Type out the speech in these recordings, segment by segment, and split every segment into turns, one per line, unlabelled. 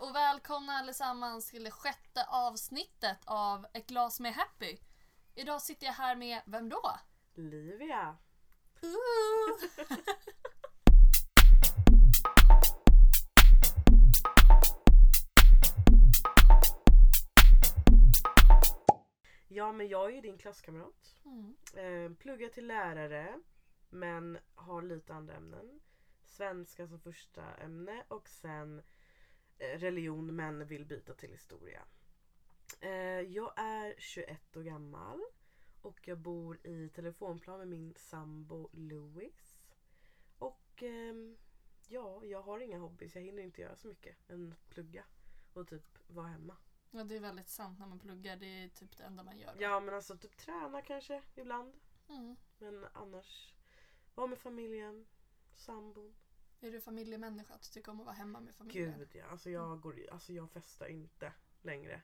och välkomna allesammans till det sjätte avsnittet av Ett glas med Happy. Idag sitter jag här med, vem då?
Livia.
Ooh.
Ja men jag är ju din klasskamrat.
Mm.
Eh, pluggar till lärare men har lite andra ämnen. Svenska som första ämne och sen eh, religion men vill byta till historia. Eh, jag är 21 år gammal och jag bor i telefonplan med min sambo Louis. Och ehm, ja, jag har inga hobbys. Jag hinner inte göra så mycket än att plugga och typ vara hemma.
Ja, det är väldigt sant när man pluggar, det är typ det enda man gör.
Ja men alltså typ träna kanske ibland.
Mm.
Men annars, vara med familjen,
Mm.
sambon.
Är du familjemänniska? Du tycker om att vara hemma med familjen?
Gud ja, alltså jag, går, alltså jag festar inte längre.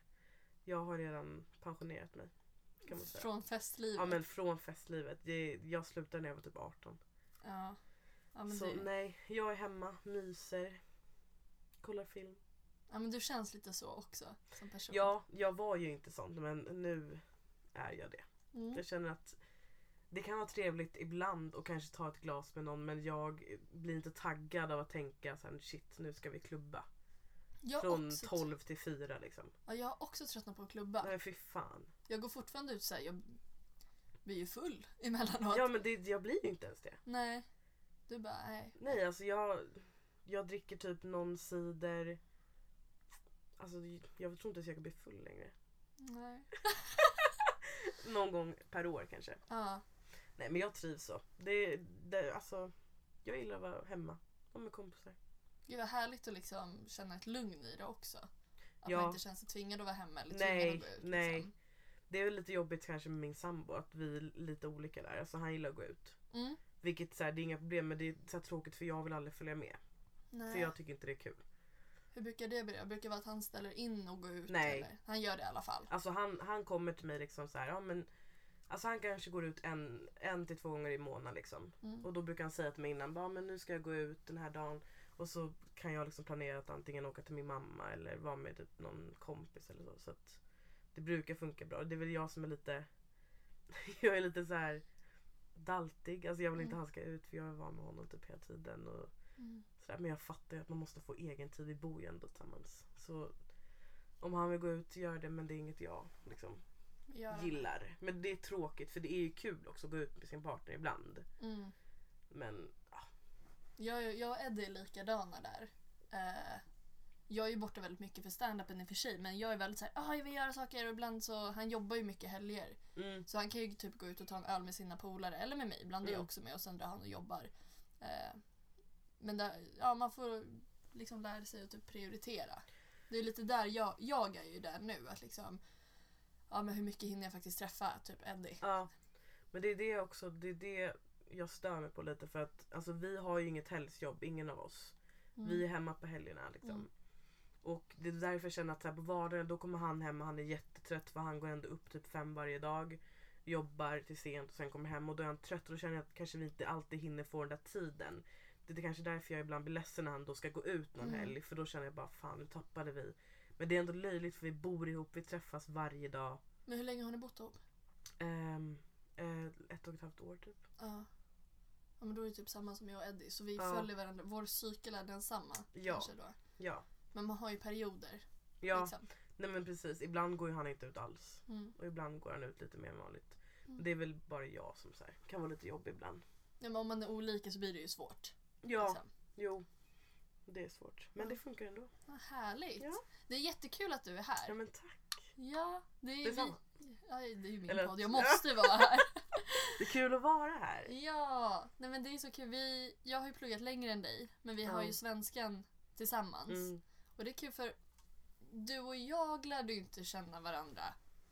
Jag har redan pensionerat mig. Kan man säga.
Från festlivet?
Ja men från festlivet. Det, jag slutade när jag var typ 18.
ja. Ja, men
så
du,
nej, jag är hemma, myser, kollar film.
ja men du känns lite så också som person.
Ja, jag var ju inte sån men nu är jag det.
Mm.
Jag känner att det kan vara trevligt ibland och kanske ta ett glas med någon men jag blir inte taggad av att tänka så här, shit nu ska vi klubba.
Jag, har
Från
också,
12 till 4 liksom.
ja, jag har också tröttnat på att klubba.
Nej fy fan.
Jag går fortfarande ut såhär, jag blir ju full emellanåt.
Ja men det, jag blir ju inte ens det.
Nej. Du bara, nej.
Nej alltså jag, jag dricker typ någon cider. Alltså jag tror inte ens jag kan bli full längre.
Nej.
Någon gång per år kanske.
Ja.
Nej men jag trivs så. Det, det, alltså, jag gillar att vara hemma. Och med kompisar.
Gud vad härligt att liksom känna ett lugn i det också. Att
Ja.
man inte känner sig tvingad att vara hemma eller tvingad
Nej,
att gå ut.
nej.
Liksom.
Det är väl lite jobbigt kanske med min sambo att vi är lite olika där. Alltså han gillar att gå ut.
Mm.
Vilket så här, det är inga problem men det är så här tråkigt för jag vill aldrig följa med.
Nej.
För jag tycker inte det är kul.
Hur brukar det bli? Det brukar vara att han ställer in och går ut.
Nej.
Eller? Han gör det i alla fall.
Alltså han, han kommer till mig liksom så här, ja men Alltså han kanske går ut en, en till två gånger i månaden liksom.
Mm.
Och då brukar han säga till mig innan, bara, men nu ska jag gå ut den här dagen. Och så kan jag liksom planera att antingen åka till min mamma eller vara med typ någon kompis eller så. Så att det brukar funka bra. Det är väl jag som är lite, jag är lite så här daltig. Alltså jag vill inte
Mm.
att han ska ut för jag är van med honom typ hela tiden. Och
Mm.
sådär. Men jag fattar ju att man måste få egen tid. Vi bor ju ändå tillsammans. Så om han vill gå ut, gör det. Men det är inget jag liksom
Gör han.
gillar. Men det är tråkigt för det är ju kul också att gå ut med sin partner ibland.
Mm.
Men ja,
Jag, jag och Eddie är likadana där. Eh, jag är ju borta väldigt mycket för stand-upen i och för sig men jag är väldigt såhär, ah, jag vill göra saker och ibland så, han jobbar ju mycket helger.
mm,
Så han kan ju typ gå ut och ta en öl med sina polare eller med mig. Ibland är jag
Mm.
också med och sen drar han och jobbar. Eh, men där, ja, man får liksom lära sig att typ prioritera. Det är lite där jag, jag är ju där nu. Att liksom, ja, men hur mycket hinner jag faktiskt träffa typ Eddie?
ja. Men det är det också, det är det jag stör mig på lite för att alltså, vi har ju inget helgsjobb, ingen av oss. Vi är hemma på helgerna liksom.
Mm.
Och det är därför jag känner att så här, på vardagen då kommer han hem och han är jättetrött för han går ändå upp typ fem varje dag. Jobbar till sent och sen kommer hem och då är han trött och då känner jag att kanske vi inte alltid hinner få den där tiden. Det är kanske därför jag ibland blir ledsen när han då ska gå ut någon
Mm.
helg för då känner jag bara fan nu tappade vi. Men det är ändå löjligt för vi bor ihop, vi träffas varje dag.
Men hur länge har ni bott ihop?
Ehm, eh, ett och ett halvt år typ.
Ja. ja, men då är det typ samma som jag och Eddie. Så vi
Ja.
följer varandra. Vår cykel är densamma.
Ja.
Kanske då.
Ja.
Men man har ju perioder.
Ja,
Liksom.
nej men precis. Ibland går ju han inte ut alls.
Mm.
Och ibland går han ut lite mer än vanligt.
Mm.
Det är väl bara jag som så här, kan vara lite jobbig ibland.
Ja, men om man är olika så blir det ju svårt.
Ja,
Liksom.
jo. Det är svårt. Men
Ja.
det funkar ändå.
Vad härligt.
Ja.
Det är jättekul att du är
Ja
här.
men tack.
Ja, det är,
Detsamma.
vi, ja, det är ju min
Eller-
podd. Jag måste vara här.
Det är kul att vara här.
Ja, nej men det är så kul. Vi, jag har ju pluggat längre än dig, men vi har
Ja.
ju svenskan tillsammans.
Mm.
Och det är kul för du och jag lärde ju inte känna varandra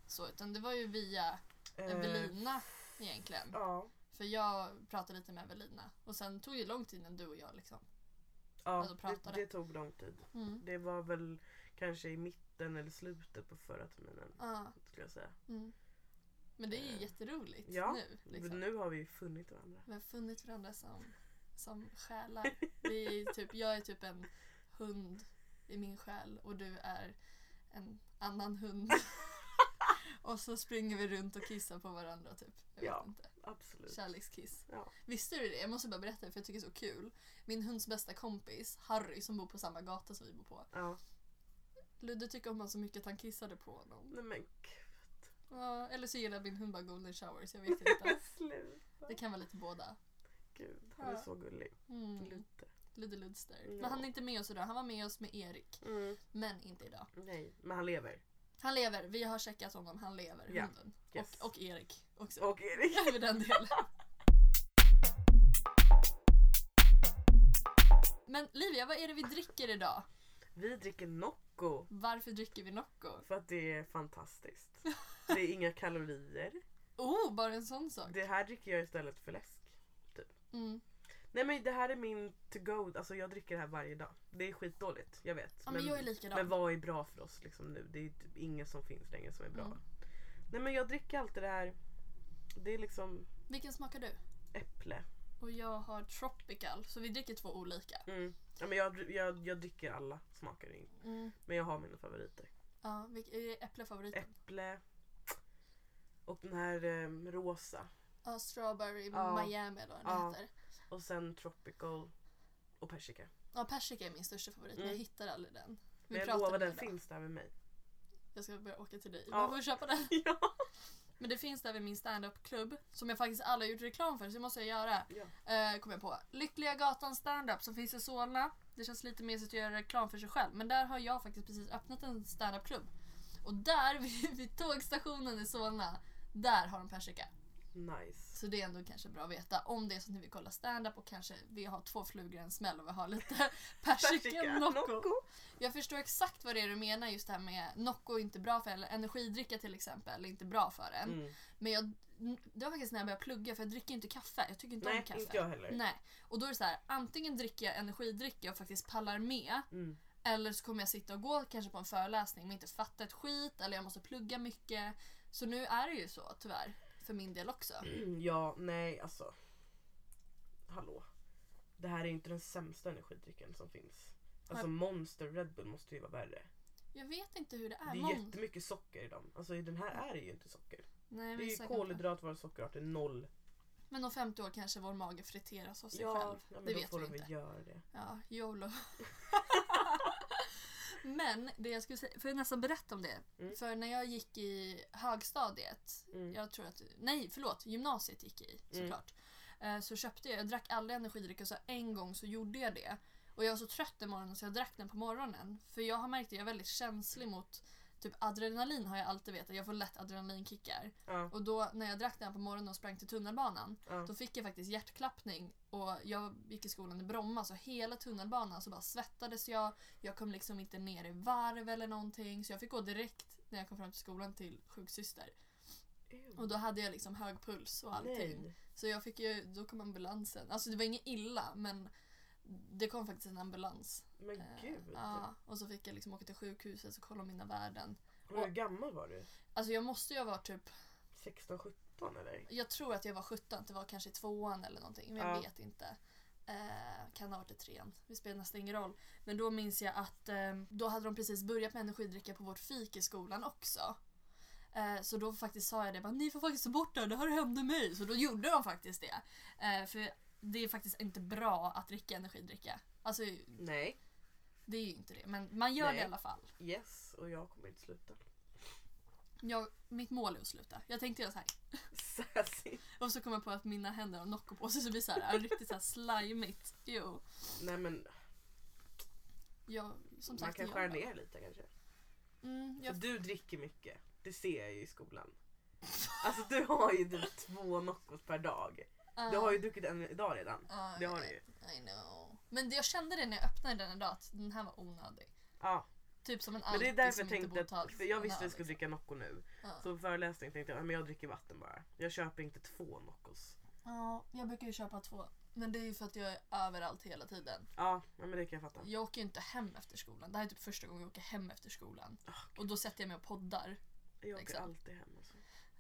så, utan det var ju via
Eh,
Evelina egentligen.
ja.
För jag pratade lite med Evelina och sen tog det lång tid innan du och jag liksom.
Ja,
Alltså, pratade.
det, det tog lång tid.
Mm.
Det var väl kanske i mitten eller slutet på förra terminen.
Ja,
Skulle jag säga.
mm. Men det är ju
Eh,
jätteroligt
ja,
nu. Liksom.
Nu har vi ju funnit varandra.
Vi har funnit varandra som, som själar. Vi är typ, jag är typ en hund i min själ och du är en annan hund. och så springer vi runt och kissar på varandra typ. Jag
Ja.
vet inte.
Absolut.
Kärlekskiss.
Ja.
Visste du det? Jag måste bara berätta det för jag tycker det är så kul. Min hunds bästa kompis, Harry, som bor på samma gata som vi bor på.
ja.
Ludde tycker om honom så mycket att han kissade på honom.
Nej men gud.
Ja, eller så gillar min hund bara golden showers, jag vet inte.
Men sluta.
Det kan vara lite båda.
Gud, han är
Ja.
så gullig.
Mm.
Lite.
Ludde Ludster.
Ja.
Men han är inte med oss idag, han var med oss med Erik.
Mm.
Men inte idag.
Nej, men han lever.
Han lever, vi har checkat honom, han lever,
Ja.
hunden.
Yes.
Och, och Erik också.
Och Erik.
För den delen. Men Livia, vad är det vi dricker idag?
Vi dricker Nocco
Varför dricker vi Nocco?
för att det är fantastiskt. Det är inga kalorier.
Oh, bara en sån sak.
Det här dricker jag istället för läsk.
Mm.
Nej men det här är min to go, alltså jag dricker det här varje dag. Det är skitdåligt, jag vet.
Ja, men jag är likadan.
men vad är bra för oss liksom nu? Det är typ inget som finns längre som är bra.
Mm.
Nej men jag dricker alltid det här. Det är liksom
Vilken smakar du?
äpple.
Och jag har tropical, så vi dricker två olika.
Mm. Ja, men jag, jag, jag dricker alla smaker,
Mm.
men jag har mina favoriter.
Ja, vilk- är äpplefavoriten?
Äpple och den här eh, rosa
Ja, strawberry
Ja.
Miami eller vad den
Ja.
heter.
och sen tropical och persika.
Ja, persika är min största favorit, men
Mm.
jag hittar aldrig den. Vi
Men jag
pratade
lovar
om det
den
idag.
finns där med mig.
Jag ska börja åka till dig.
Ja.
Jag får köpa den.
ja.
Men det finns där vid min standup-klubb som jag faktiskt aldrig har gjort reklam för så det måste jag göra.
Ja.
Eh, kom jag på. Lyckliga gatan standup som finns i Solna. Det känns lite mesigt att göra reklam för sig själv men där har jag faktiskt precis öppnat en standup-klubb. Och där vid, vid tågstationen i Solna, där har de persika.
Nice.
Så det är ändå kanske bra att veta om det är så att ni vill kolla standup och kanske vi har två flugor i en smäll och vi har lite persika Nocco. Jag förstår exakt vad det är du menar just det här med Nocco är inte bra för en, eller energidricka till exempel är inte bra för en.
Mm.
Men jag, det var faktiskt när jag började plugga för jag dricker inte kaffe. Jag tycker inte
Nej,
om kaffe.
inte jag heller.
Nej. Och då är det så här, antingen dricker jag energidrycker och faktiskt pallar med.
Mm.
Eller så kommer jag sitta och gå kanske på en föreläsning men inte fatta ett skit eller jag måste plugga mycket. Så nu är det ju så tyvärr. För min del också.
Mm. Ja, nej alltså. Hallå. Det här är ju inte den sämsta energidrycken som finns. Alltså Monster Red Bull måste ju vara värre.
Jag vet inte hur det
Det
är.
är
Någon-
jättemycket socker i dem. Alltså i den här är det ju inte socker.
Nej,
Det
vi
är ju
säkert inte.
kolhydrat, våra sockerarter, noll.
Men om 50 år kanske vår mage friteras av sig själv.
ja men
det
då
vet
får
vi
de
inte.
väl göra det.
Ja, YOLO. Men det jag skulle säga, får jag nästan berätta om det?
Mm.
För när jag gick i högstadiet,
Mm.
jag tror att, nej förlåt, gymnasiet gick jag i såklart. Eh, Så köpte jag, jag drack aldrig energidryck och så en gång så gjorde jag det. Och jag var så trött den morgonen så jag drack den på morgonen. För jag har märkt att jag är väldigt känslig mot typ adrenalin har jag alltid vetat, jag får lätt adrenalinkickar.
Ja,
Och då när jag drack den på morgonen och sprang till tunnelbanan
ja.
då fick jag faktiskt hjärtklappning och jag gick i skolan i Bromma så hela tunnelbanan så bara svettades jag. Jag kom liksom inte ner i varv eller någonting så jag fick gå direkt när jag kom fram till skolan till sjuksyster.
Ew.
Och då hade jag liksom hög puls och allting.
Nej.
Så jag fick ju, då kom ambulansen. Alltså det var inget illa men det kom faktiskt en ambulans.
Men
Eh,
gud.
Ja, och så fick jag liksom åka till sjukhuset och kolla mina värden.
Och Hur gammal var du?
Alltså jag måste ju ha varit typ,
16, 17 eller?
jag tror att jag var 17, det var kanske i tvåan eller någonting men
Ja.
jag vet inte. Eh, kan ha varit i trean, det spelar nästan ingen roll. Men då minns jag att eh, då hade de precis börjat med energidricka på vårt fik i skolan också. Eh, Så då faktiskt sa jag det, bara, ni får faktiskt ta bort det här, det här hände mig. Så då gjorde de faktiskt det. Eh, För det är faktiskt inte bra att dricka energidricka. Alltså
Nej.
det är ju inte det, men man gör det
Nej.
i alla fall.
Yes, och jag kommer inte sluta.
Jag, mitt mål är att sluta. Jag tänkte göra så här.
Sassy.
Och så kom jag på att mina händer har Nocco på sig så det blir så här, ja, riktigt så här slimigt. Jo.
Nej men
Jag, som
man
sagt,
kan
jag-
skära ner Alltså, lite kanske.
Mm,
För
jag,
du dricker mycket. Det ser jag ju i skolan. Alltså du har ju typ två Noccos per dag. Du har ju druckit en idag redan.
Ja,
Det har
jag
du ju.
vet. ah, I know. Men det, jag kände det när jag öppnade den idag att den här var onödig.
Ja,
Typ som en
men det är
alkis
därför
som
jag
inte
tänkte
borde ta
att, för jag
en
visste att
öl,
jag skulle
liksom.
dricka Nocco nu.
Ja.
Så på föreläsning tänkte jag, "Ja, men jag dricker vatten bara. Jag köper inte två Noccos.
Ja, jag brukar ju köpa två. Men det är ju för att jag är överallt hela tiden.
Ja, ja, men det kan jag fatta.
Jag åker ju inte hem efter skolan. Det här är typ första gången jag åker hem efter skolan.
Ah,
Och då sätter jag mig och poddar.
Jag åker
Exakt.
alltid hem alltså.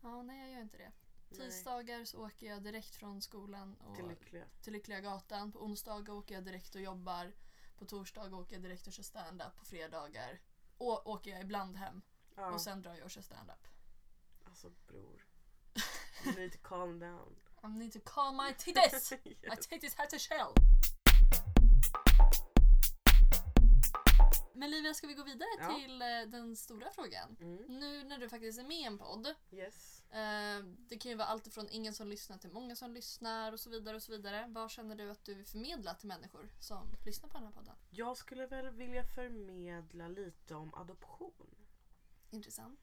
Ja, nej jag gör inte det.
Nej,
Tisdagar så åker jag direkt från skolan och
till lyckliga.
till Lyckliga gatan. På onsdagar åker jag direkt och jobbar. På torsdag åker jag direkt och kör stand-up. På fredagar å- åker jag ibland hem
Ja,
och sen drar jag och kör stand-up.
alltså bror. You need to calm down.
I need to calm my titties! I
yes.
take this hat to shell! Men Livia, ska vi gå vidare
Ja.
till eh, den stora frågan?
Mm.
Nu när du faktiskt är med i en podd.
yes.
Eh, det kan ju vara allt ifrån ingen som lyssnar till många som lyssnar och så vidare. och så vidare. Vad känner du att du vill förmedla till människor som lyssnar på den här podden?
Jag skulle väl vilja förmedla lite om adoption.
Intressant.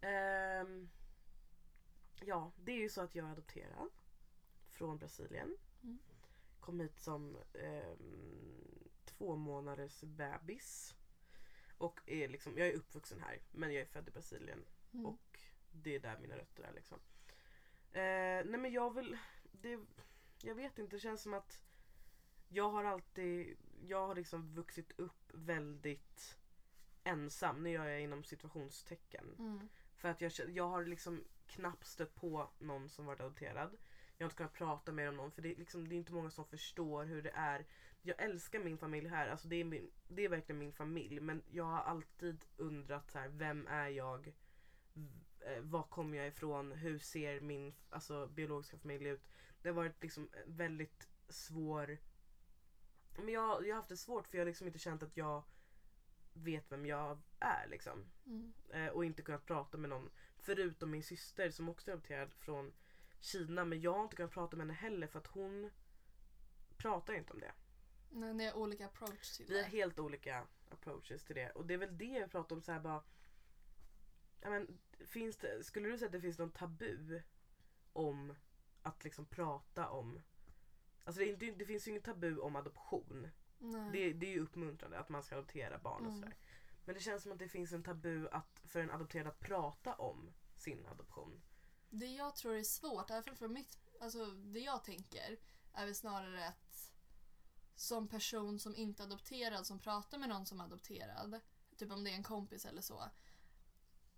Ehm, ja, det är ju så att jag är adopterad från Brasilien.
Mm.
Kom hit som ehm, två månaders bebis. Och är liksom, jag är uppvuxen här men jag är född i Brasilien
Mm.
och det är där mina rötter är liksom. Eh, nej men jag vill, det, jag vet inte, det känns som att jag har alltid, jag har liksom vuxit upp väldigt ensam. Nu gör jag inom situationstecken.
Mm.
För att jag, känner- jag har liksom knappt stött på någon som varit adopterad. Jag har inte kunnat prata med om någon för det är, liksom, det är inte många som förstår hur det är. Jag älskar min familj här, alltså det, är min, det är verkligen min familj. Men jag har alltid undrat så här, vem är jag? V- eh, Var kommer jag ifrån? Hur ser min alltså, biologiska familj ut? Det har varit liksom väldigt svår... Men jag, jag har haft det svårt för jag har liksom inte känt att jag vet vem jag är liksom
Mm.
eh, och inte kunnat prata med någon förutom min syster som också är adopterad från Kina men jag har inte kunnat prata med henne heller för att hon pratar inte om det.
Nej, Ni har olika approach till
Vi har
det.
helt olika approaches till det och det är väl det jag pratar om så här bara ja, men, finns det, Skulle du säga att det finns någon tabu om att liksom prata om Alltså det, är inte, det finns ju inget tabu om adoption.
Nej.
Det, det är ju uppmuntrande att man ska adoptera barn och
Mm.
sådär. Men det känns som att det finns en tabu att, för en adopterad att prata om sin adoption.
Det jag tror är svårt, i alla fall från mitt, alltså det jag tänker, är väl snarare att som person som inte är adopterad, som pratar med någon som är adopterad, typ om det är en kompis eller så,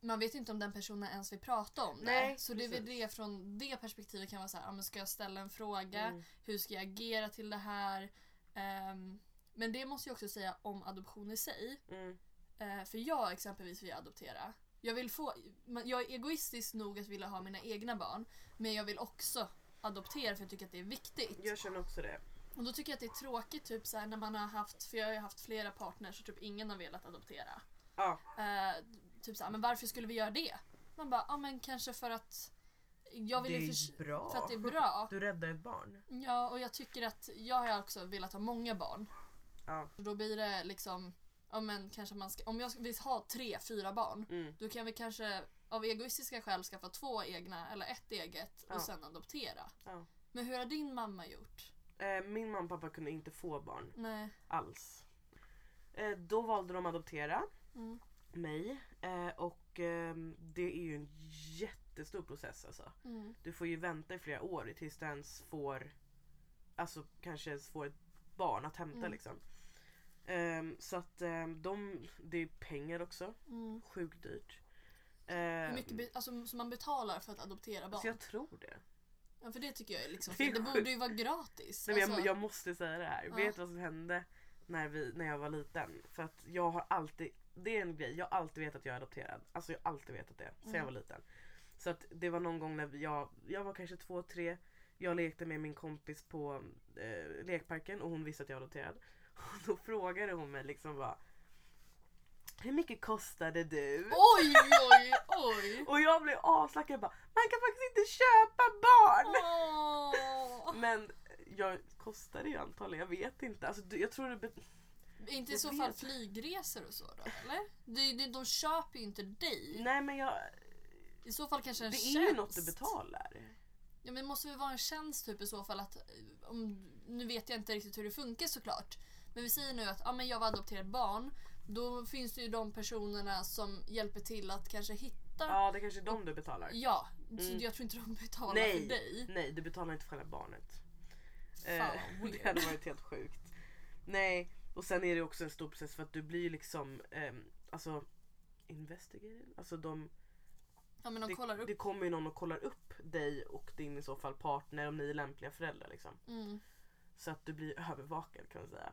man vet ju inte om den personen ens vill prata om det.
Nej,
så det är väl
precis.
det från det perspektivet kan vara så här, ah, men ska jag ställa en fråga?
Mm.
Hur ska jag agera till det här? Ehm, men det måste jag också säga om adoption i sig.
Mm.
Eh, för jag exempelvis vill adoptera. Jag, vill få, men jag är egoistisk nog att vilja ha mina egna barn men jag vill också adoptera för jag tycker att det är viktigt.
Jag känner också det.
Och då tycker jag att det är tråkigt typ så här, när man har haft, för jag har ju haft flera partners och typ ingen har velat adoptera.
Ja,
Eh, typ så här, men varför skulle vi göra det? Man bara, ja ah, men kanske för att jag vill
det är
ju
ju
för,
bra.
för att det är bra.
Du räddar ett barn.
Ja och jag tycker att jag har också velat ha många barn.
Ja.
Och Då blir det liksom, ja men kanske man ska, om jag vill ha tre, fyra barn
Mm.
då kan vi kanske av egoistiska skäl skaffa två egna eller ett eget
Ja.
och sen adoptera.
Ja.
Men hur har din mamma gjort?
Eh, min mamma och pappa kunde inte få barn
Nej.
alls. Eh, då valde de att adoptera
Mm.
mig eh, och ehm, det är ju en jättestor process alltså.
Mm.
Du får ju vänta i flera år tills du ens får Alltså kanske ens får ett barn att hämta
Mm.
liksom. Ehm, så att ehm, de, det är pengar också.
Mm.
Sjukt dyrt.
Hur
Ehm,
mycket be- alltså, som man betalar för att adoptera barn?
så jag tror det.
Ja, för det tycker jag är liksom
Alltså, Det är
fel. Det
sjukt.
borde ju vara gratis.
Nej, men jag,
Alltså,
jag måste säga det här.
Ja.
Vet du vad som hände när, vi, när jag var liten? För att jag har alltid, det är en grej, jag har alltid vetat att jag är adopterad. Alltså jag har alltid vetat det sen jag
Mm.
var liten. Så att det var någon gång när vi- jag, jag var kanske två, tre. Jag lekte med min kompis på eh, lekparken och hon visste att jag var adopterad. Och då frågade hon mig liksom bara Hur mycket kostade du?
Oj, oj, oj!
Och jag blev aslack. Jag bara Man kan faktiskt inte köpa barn!
Åh.
Men jag kostade ju antagligen, jag vet inte. Alltså, du- jag tror det bet-
Inte i
Jag
så
vet.
fall flygresor och så då, eller? De, de, de köper ju inte dig.
Nej men jag,
I så fall kanske
det
en
är ju något du
tjänst.
betalar.
Ja men det måste väl vara en tjänst typ i så fall att, eh, om, nu vet jag inte riktigt hur det funkar såklart. Men vi säger nu att ja, men jag var adopterat barn. Då finns det ju de personerna som hjälper till att kanske hitta. Ja,
Ja det kanske är de du betalar.
så
Mm.
jag tror inte de betalar
Nej.
för dig.
Nej du betalar inte för själva barnet.
Fan
Eh,
vad
det hade
weird.
varit helt sjukt. Nej och sen är det också en stor process för att du blir ju liksom ehm, alltså investigated. Alltså de,
Ja men de kollar
det,
upp.
det kommer ju någon och kollar upp dig och din i så fall partner om ni är lämpliga föräldrar liksom.
Mm.
Så att du blir övervakad kan man säga.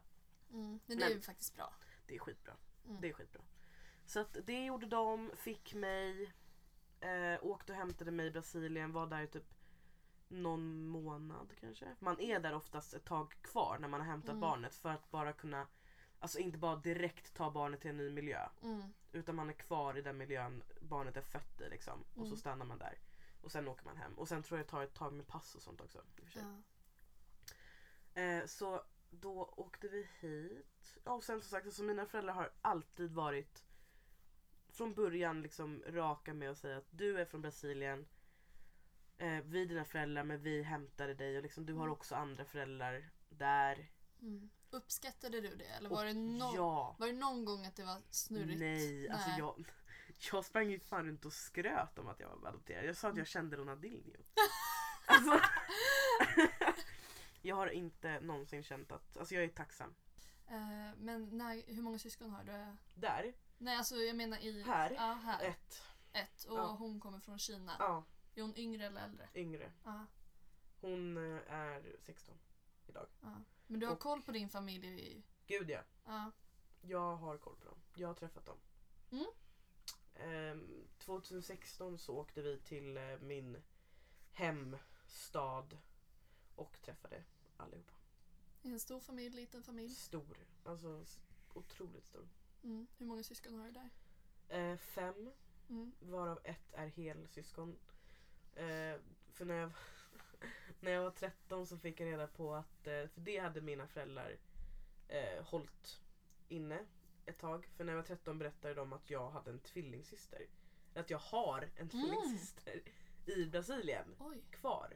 Mm. Men det är
Men-
ju faktiskt bra.
Det är skitbra.
Mm.
Det är skitbra. Så att det gjorde de, fick mig, eh, åkte och hämtade mig i Brasilien, var där i typ någon månad kanske. Man är där oftast ett tag kvar när man har hämtat
Mm.
barnet för att bara kunna, alltså inte bara direkt ta barnet till en ny miljö.
Mm.
Utan man är kvar i den miljön barnet är fött i liksom. Och så
Mm.
stannar man där. Och sen åker man hem. Och sen tror jag det tar ett tag med pass och sånt också. I och för sig.
Ja.
Eh, så då åkte vi hit. Ja, Och sen som sagt, alltså mina föräldrar har alltid varit från början liksom raka med att säga att du är från Brasilien. Eh, vi är dina föräldrar men vi hämtade dig och liksom, du har
Mm.
också andra föräldrar där.
Mm. Uppskattade du det? Eller
Och
var det, no-
ja.
var det någon gång att det var snurrigt?
Nej, alltså
Nej.
jag, jag sprang ju fan runt och skröt om att jag var adopterad. Jag
Mm.
sa att jag kände Ronaldinho. alltså, jag har inte någonsin känt att, alltså jag är tacksam.
Eh, men när, hur många syskon har du?
Där,
Nej, alltså jag menar i...
Här.
Ja, här. Ett.
ett,
Och
Ja.
hon kommer från Kina.
ja,
Är hon yngre eller äldre?
yngre.
Ja.
Hon eh, är 16 idag.
ja. Men du har
Och-
koll på din familj? i-
Gud ja,
Ja.
jag har koll på dem. Jag har träffat dem.
Mm.
Ehm, 2016 så åkte vi till eh, min hemstad och träffade allihopa.
Är En stor familj, liten familj.
Stor. Alltså s- otroligt stor.
Mm. Hur många syskon har du där?
Eh, fem,
Mm.
varav ett är helsyskon. Eh, för när jag, när jag var 13 så fick jag reda på att, eh, för det hade mina föräldrar eh, hållit inne ett tag. För när jag var 13 berättade de att jag hade en tvillingsyster. Att jag har en tvillingsyster i Brasilien
Oj.
kvar.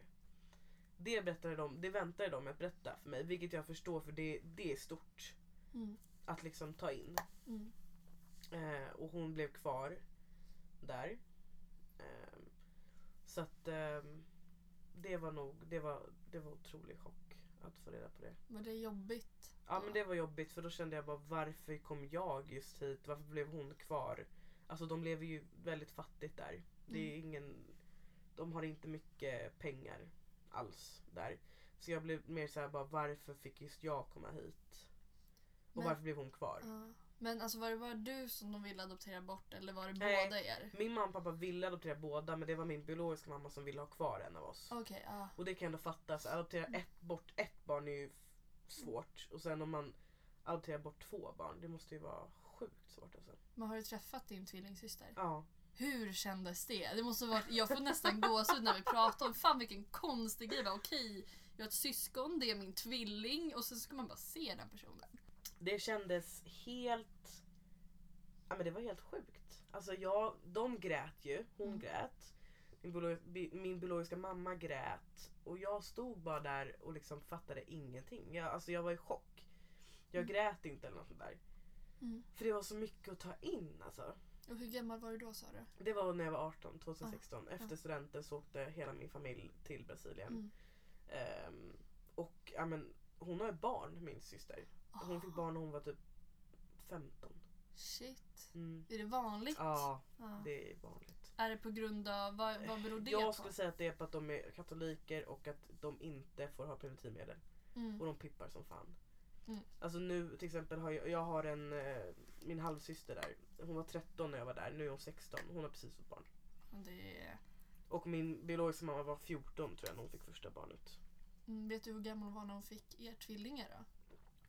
Det berättade de, det väntade de med att berätta för mig. Vilket jag förstår för det, det är stort
Mm.
att liksom ta in.
Mm.
Eh, och hon blev kvar där. Ehm, så att ehm, det var nog, det var, det var otrolig chock att få reda på det.
Var det jobbigt?
Ja men det var jobbigt för då kände jag bara varför kom jag just hit? Varför blev hon kvar? Alltså de lever ju väldigt fattigt där. Det är ingen, de har inte mycket pengar alls där. Så jag blev mer såhär bara varför fick just jag komma hit? Och
Men-
varför blev hon kvar?
Ja. Men alltså var det bara du som de ville adoptera bort eller var det
Nej.
båda er?
Min mamma och pappa ville adoptera båda men det var min biologiska mamma som ville ha kvar en av oss.
Okej, ja.
Och det kan jag ändå fatta. Så adoptera ett, bort ett barn är ju f- svårt. Och sen om man adopterar bort två barn, det måste ju vara sjukt svårt alltså.
Men har du träffat din tvillingsyster?
Ja.
Hur kändes det? det måste vara, jag får nästan gåshud när vi pratar om fan vilken konstig grej. Bara, Okej, jag har ett syskon, det är min tvilling och sen ska man bara se den personen.
Det kändes helt... Ja men det var helt sjukt. Alltså jag, de grät ju. Hon
Mm.
grät. Min, biolo, bi, min biologiska mamma grät. Och jag stod bara där och liksom fattade ingenting. Jag, alltså jag var i chock. Jag
Mm.
grät inte eller något sånt där.
Mm.
För det var så mycket att ta in alltså.
Och hur gammal var du då sa du?
Det var när jag var 18, 2016. Efter studenten så åkte hela min familj till
Ah.
Brasilien.
Mm.
Ehm, och ja, men, hon har ju barn, min syster. Hon fick barn när hon var typ 15.
Ah, Shit.
Mm.
Är det vanligt?
Ja,
Ja.
det är vanligt.
Är det på grund av, vad, vad beror det
Jag
på?
skulle säga att det är på att de är katoliker och att de inte får ha preventivmedel.
Mm.
Och de pippar som fan.
Mm.
Alltså nu till exempel har jag, jag har en, eh, min halvsyster där. Hon var 13 när jag var där, nu är hon 16. Hon har precis fått barn.
Det är,
Och min biologiska mamma var 14 tror jag när hon fick första barnet.
Mm, vet du hur gammal hon var när hon fick er tvillingar då?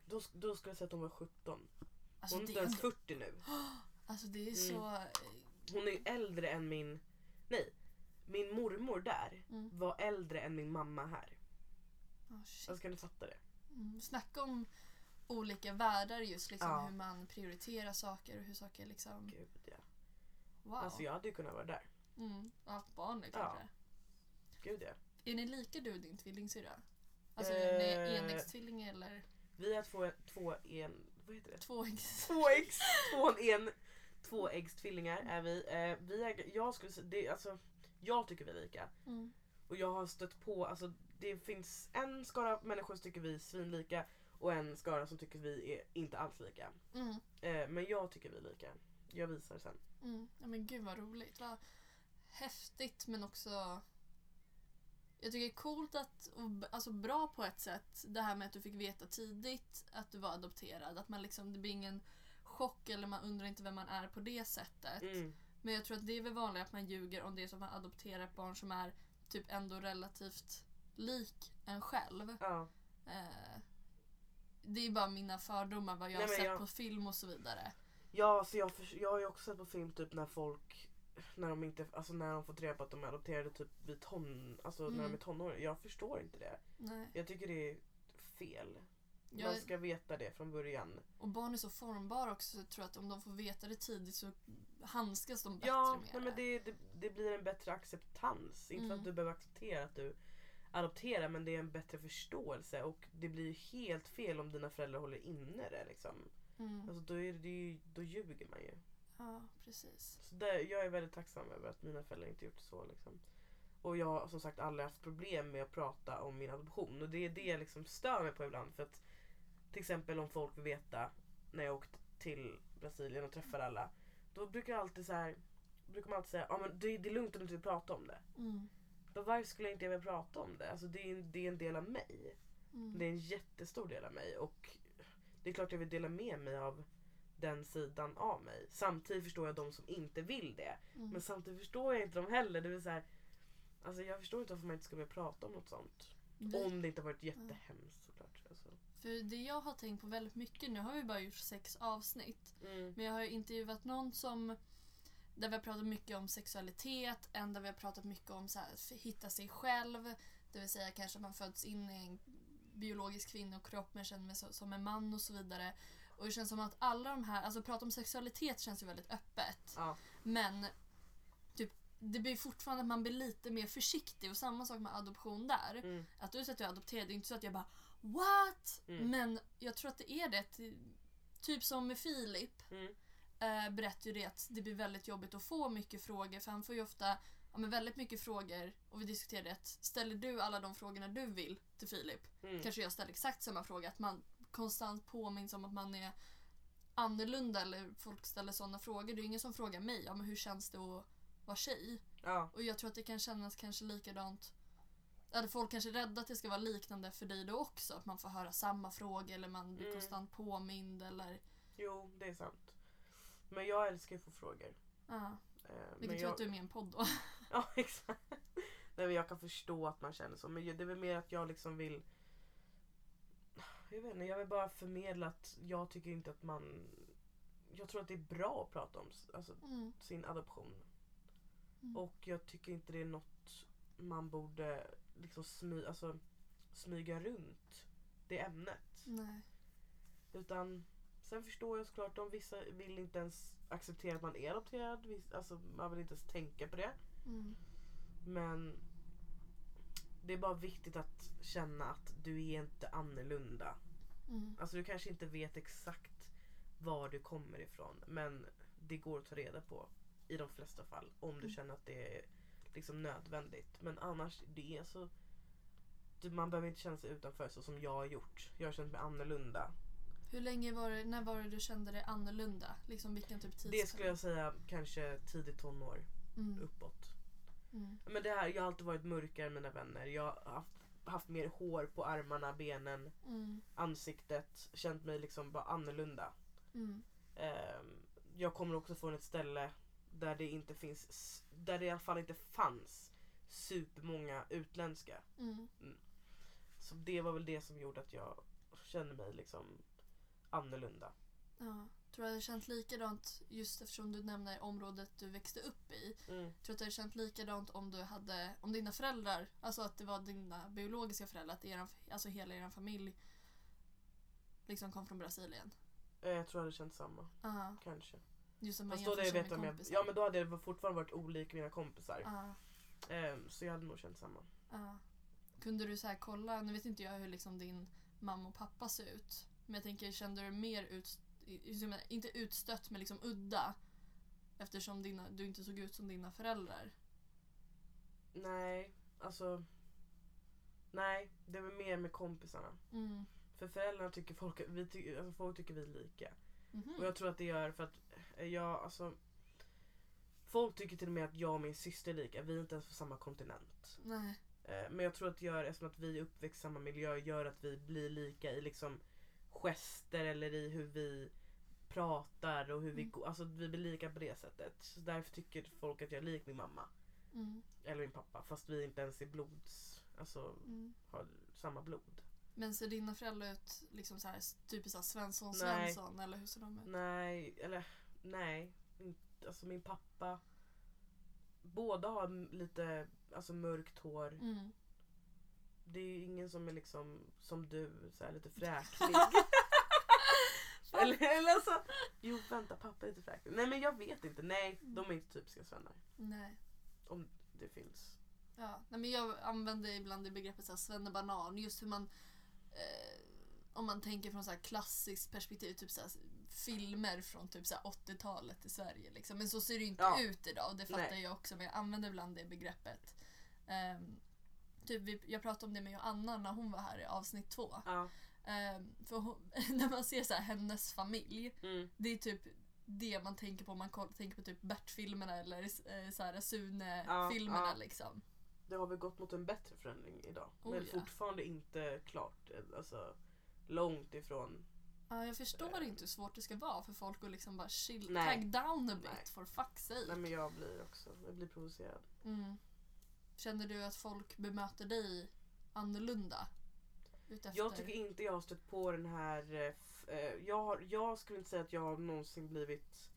Då, sk- då skulle jag säga att hon var 17.
Alltså,
Hon Mm. är
det, är
inte ens
ändå-
40 nu.
alltså det är så... eh,
Hon är äldre än min... Nej. Min mormor där
Mm.
var äldre än min mamma här.
ah, shit.
Alltså kan du fatta det?
Mm, snacka om olika världar just liksom
Ja.
hur man prioriterar saker och hur saker liksom...
Gud ja.
Wow.
Alltså jag hade ju kunnat vara där.
mm, och haft barn nu kanske.
Gud ja.
Är ni lika du och din tvillingsyrra? Alltså är ni
Eh.
enäggstvillingar eller
Vi är två, två en... Vad heter det?
tvåäggs?
Två äggs... Två en... Två äggstvillingar är vi. Eh, vi är, jag skulle säga... Det, alltså, jag tycker vi är lika.
Mm.
Och jag har stött på, alltså det finns en skara människor som tycker vi är svinlika och en skara som tycker vi är inte alls lika.
Mm.
Eh, men jag tycker vi är lika. Jag visar sen.
Mm. Ja, men gud vad roligt. Vad häftigt men också Jag tycker det är coolt att, och b- alltså bra på ett sätt, det här med att du fick veta tidigt att du var adopterad. Att man liksom, det blir ingen chock eller man undrar inte vem man är på det sättet.
Mm.
Men jag tror att det är väl vanligt att man ljuger om det är så att man adopterar ett barn som är typ ändå relativt lik en själv.
Ja.
Eh, det är bara mina fördomar vad jag
Nej,
har
men
sett
jag-
på film och så vidare.
Ja, så jag, förs- jag har ju också sett på film typ när folk när de inte, alltså när de fått reda på att de är adopterade typ vid ton, alltså när de
Mm.
är tonåringar. Jag förstår inte det.
Nej.
Jag tycker det är fel. Man
Jag,
ska veta det från början.
och barn är så formbara också så jag tror att om de får veta det tidigt så handskas de bättre
ja,
med
nej, men det, det, det blir en bättre acceptans. Inte för
Mm.
att du behöver acceptera att du adopterar men det är en bättre förståelse och det blir helt fel om dina föräldrar håller inne det liksom.
Mm.
Alltså då, är det, ju- då ljuger man ju.
Ja, precis.
Så där, jag är väldigt tacksam över att mina föräldrar inte gjort så. Liksom. Och jag har som sagt aldrig haft problem med att prata om min adoption. Och det är det jag liksom stör mig på ibland. För att till exempel om folk vill veta när jag åkte till Brasilien och träffade alla. Då brukar jag alltid så här, brukar man alltid säga ja men det, det är lugnt om du inte vill prata om det.
Mm.
Men varför skulle jag inte vilja prata om det? Alltså det är, en- det är en del av mig.
Mm.
Det är en jättestor del av mig. Och det är klart jag vill dela med mig av den sidan av mig. Samtidigt förstår jag de som inte vill det.
Mm.
Men samtidigt förstår jag inte dem heller. Det vill säga, alltså jag förstår inte varför man inte skulle vilja prata om något sånt.
Vi-
Om det inte har varit jättehemskt såklart. Alltså.
Mm. För det jag har tänkt på väldigt mycket, nu har vi bara gjort sex avsnitt,
Mm.
men jag har ju intervjuat någon som där vi har pratat mycket om sexualitet, en där vi har pratat mycket om så här, att hitta sig själv, det vill säga kanske man föds in i en biologisk kvinnokropp men känner mig så, som en man och så vidare. Och det känns som att alla de här, alltså prata om sexualitet känns ju väldigt öppet.
Ja.
Men typ, det blir fortfarande att man blir lite mer försiktig och samma sak med adoption där.
Mm.
Att du säger att du är adopterad, det är inte så att jag bara What?
Mm.
Men jag tror att det är det. att- Typ som med Filip
Mm.
eh, berättar ju det att det blir väldigt jobbigt att få mycket frågor för han får ju ofta ja, men väldigt mycket frågor och vi diskuterade att ställer du alla de frågorna du vill till Filip
Mm.
kanske jag ställer exakt samma fråga. Att man konstant påminns om att man är annorlunda eller folk ställer sådana frågor. Det är ju ingen som frågar mig ja, men hur känns det att vara tjej.
Ja.
Och jag tror att det kan kännas kanske likadant. Eller folk kanske är rädda att det ska vara liknande för dig då också. Att man får höra samma fråga eller man blir
Mm.
konstant påmind eller...
Jo, det är sant. Men jag älskar att få frågor.
Ja,
Eh, men
vilket tur
jag...
att du är med i en podd då.
Ja, exakt. Nej, men jag kan förstå att man känner så. Men det är väl mer att jag liksom vill... Jag vet inte, jag vill bara förmedla att jag tycker inte att man... Jag tror att det är bra att prata om alltså,
Mm.
sin adoption.
Mm.
Och jag tycker inte det är något man borde liksom smy, alltså, smyga runt det ämnet.
Nej.
Utan sen förstår jag såklart om vissa vill inte ens acceptera att man är adopterad. Viss- Alltså, man vill inte ens tänka på det.
Mm.
Men det är bara viktigt att känna att du är inte annorlunda.
Mm.
Alltså du kanske inte vet exakt var du kommer ifrån men det går att ta reda på i de flesta fall om du
Mm.
känner att det är liksom nödvändigt. Men annars, det är så... du- Man behöver inte känna sig utanför så som jag har gjort. Jag har känt mig annorlunda.
Hur länge var det, när var det du kände dig annorlunda? Liksom vilken typ tidsperiod?
Det skulle jag säga kanske tidigt tonår
Mm.
uppåt.
Mm.
Men det här, jag har alltid varit mörkare än mina vänner. Jag har haft, haft mer hår på armarna, benen.
Mm.
ansiktet, känt mig liksom bara annorlunda.
Mm.
Ehm, jag kommer också från ett ställe där det inte finns, s- där det i alla fall inte fanns supermånga utländska.
Mm.
Så det var väl det som gjorde att jag kände mig liksom annorlunda.
Ja. Tror du det hade känt likadant just eftersom du nämner området du växte upp i?
Mm.
tror att det hade känt likadant om du hade, om dina föräldrar, alltså att det var dina biologiska föräldrar, att eran, alltså hela er familj liksom kom från Brasilien.
Eh, Jag tror jag hade känt samma,
Ja,
kanske.
just som man
Fast då hade jag
jämför
vetat
sig
om
med
jag,
kompisar.
ja men då hade jag fortfarande varit olik mina kompisar.
Ja,
Ehm, så jag hade nog känt samma.
ja. Kunde du så här kolla, nu vet inte jag hur liksom din mamma och pappa ser ut, men jag tänker kände du dig mer ut, i- som- inte utstött men liksom udda? Eftersom dina, du inte såg ut som dina föräldrar.
Nej, alltså. Nej, det var mer med kompisarna.
Mm.
För föräldrarna tycker folk, vi ty, alltså folk tycker vi är lika.
Mhm.
Och jag tror att det gör för att eh, jag alltså Folk tycker till och med att jag och min syster är lika, vi är inte ens på samma kontinent.
Nej.
Eh, Men jag tror att det gör, eftersom att vi är uppväxt i samma miljö gör att vi blir lika i liksom gester eller i hur vi pratar och hur vi
Mm.
går. Alltså vi blir lika på det sättet. Så därför tycker folk att jag är lik min mamma.
Mm,
Eller min pappa. Fast vi inte ens är blods... Alltså
mm.
har samma blod.
Men ser dina föräldrar ut liksom så här, typiskt så här Svensson,
Nej.
Svensson eller hur ser de ut?
Nej, eller nej. Inte- Alltså min pappa. Båda har m- lite alltså, mörkt hår.
Mm.
Det är ju ingen som är liksom som du, så här, lite fräklig. eller, eller alltså, jo vänta pappa är lite fräklig. Nej men jag vet inte. Nej,
Mm.
de är inte typiska svennar.
Nej.
Om det finns.
Ja. Nej, men jag använder ibland det begreppet så här, svennebanan, just hur man eh, om man tänker från så här klassiskt perspektiv, typ så här, filmer från typ så här 80-talet i Sverige. Liksom. Men så ser det ju inte
Ja.
ut idag och det fattar
Nej.
jag också men jag använder ibland det begreppet. Ehm, typ, vi, jag pratade om det med Anna när hon var här i avsnitt två.
Ja.
Ehm, för hon, när man ser så här, hennes familj
Mm.
Det är typ det man tänker på om man koll- tänker på typ Bert-filmerna eller eh, så här Sune-filmerna
Ja, ja.
liksom.
Det har väl gått mot en bättre förändring idag.
Oh,
men
ja.
fortfarande inte klart. Alltså långt ifrån.
Ja, jag förstår
Eh.
inte hur svårt det ska vara för folk att liksom bara chill,
Nej.
tag down a bit
Nej.
for fuck's sake.
Nej men jag blir också, jag blir provocerad.
Mm. Känner du att folk bemöter dig annorlunda? Utefter?
Jag tycker inte jag har stött på den här... eh, f- eh, Jag, har, jag skulle inte säga att jag har någonsin blivit...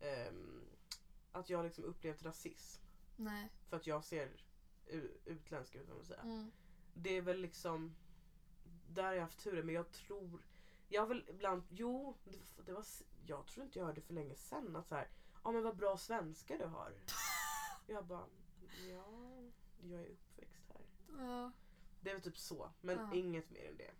ehm, att jag har liksom upplevt rasism.
Nej.
För att jag ser u- utländsk ut, om man säger.
Mm.
Det är väl liksom... Där har jag haft turen, men jag tror... Jag har väl ibland... Jo, det, f- det var, s- jag tror inte jag hörde för länge sedan att så här... Ja men vad bra svenska du har. jag bara... Ja, jag är uppväxt här.
Ja.
Det är väl typ så, men
Ja.
inget mer än det.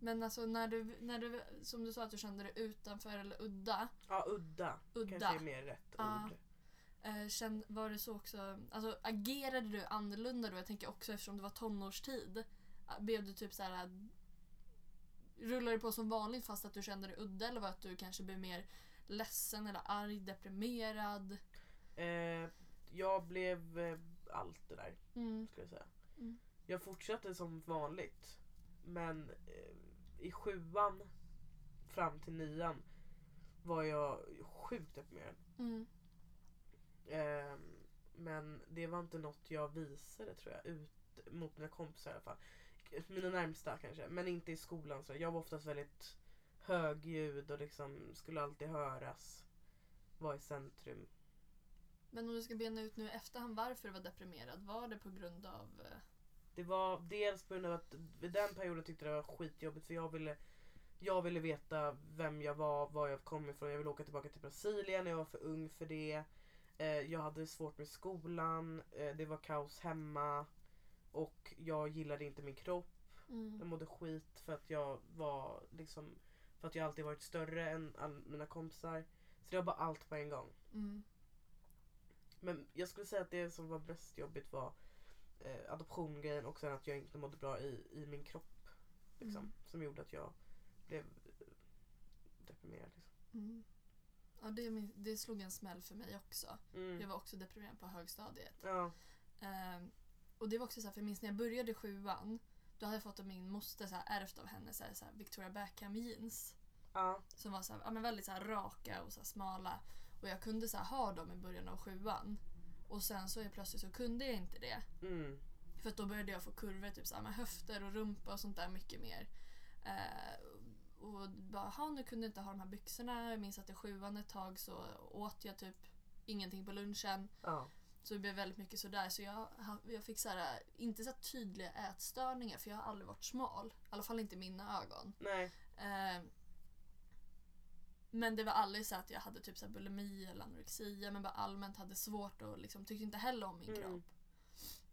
Men alltså när du, när du, som du sa att du kände dig utanför eller udda.
Ja, udda.
Udda. Ah.
Kanske är mer rätt
Ja.
ord.
Eh, känn- var det så också, alltså agerade du annorlunda då? Jag tänker också eftersom det var tonårstid. eh, Blev du typ så här rullade det på som vanligt fast att du kände dig udda eller var det att du kanske blev mer ledsen eller arg, deprimerad?
Eh, jag blev eh, allt det där,
Mm.
skulle jag säga.
Mm.
Jag fortsatte som vanligt. Men eh, i sjuan fram till nian var jag sjukt deprimerad.
Mm.
Eh, men det var inte något jag visade tror jag, ut mot mina kompisar i alla fall. Mina närmsta kanske, men inte i skolan. Så jag var oftast väldigt högljudd och liksom skulle alltid höras. Var i centrum.
Men om du ska bena ut nu i efterhand varför du var deprimerad, var det på grund av... eh,
Det var dels på grund av att vid den perioden tyckte jag det var skitjobbigt för jag ville jag ville veta vem jag var, var jag kom ifrån. Jag ville åka tillbaka till Brasilien, jag var för ung för det. Eh, jag hade svårt med skolan, eh, det var kaos hemma. Och jag gillade inte min kropp. Jag
Mm.
mådde skit för att jag var liksom för att jag alltid varit större än all mina kompisar. Så det var bara allt på en gång.
Mm.
Men jag skulle säga att det som var mest jobbigt var eh, adoptiongrejen och sen att jag inte mådde bra i, i min kropp. Liksom,
Mm.
Som gjorde att jag blev eh, deprimerad. Liksom.
Mm. Ja, det, min- det slog en smäll för mig också. Jag var också deprimerad på högstadiet.
Mm. Ja.
Ehm, och det var också så här, för jag minns när jag började sjuan, då hade jag fått av min moster, så här, ärvt av henne, så här, så här, Victoria Beckham jeans.
Ja.
Som var så här, ja, men väldigt så här, raka och så här, smala. Och jag kunde så här, ha dem i början av sjuan. Och sen så är plötsligt så kunde jag inte det.
Mm.
För att då började jag få kurvor, typ så här, med höfter och rumpa och sånt där mycket mer. Eh, och bara, "Ha, nu kunde jag inte ha de här byxorna. Jag minns att i sjuan ett tag så åt jag typ ingenting på lunchen.
Ja.
Så det blev väldigt mycket sådär. Så jag, jag fick så här, inte så här tydliga ätstörningar för jag har aldrig varit smal. I alla fall inte i mina ögon.
Nej.
Eh, men det var aldrig så att jag hade typ så här bulimi eller anorexia men bara allmänt hade svårt och liksom, tyckte inte heller om min
Mm.
kropp.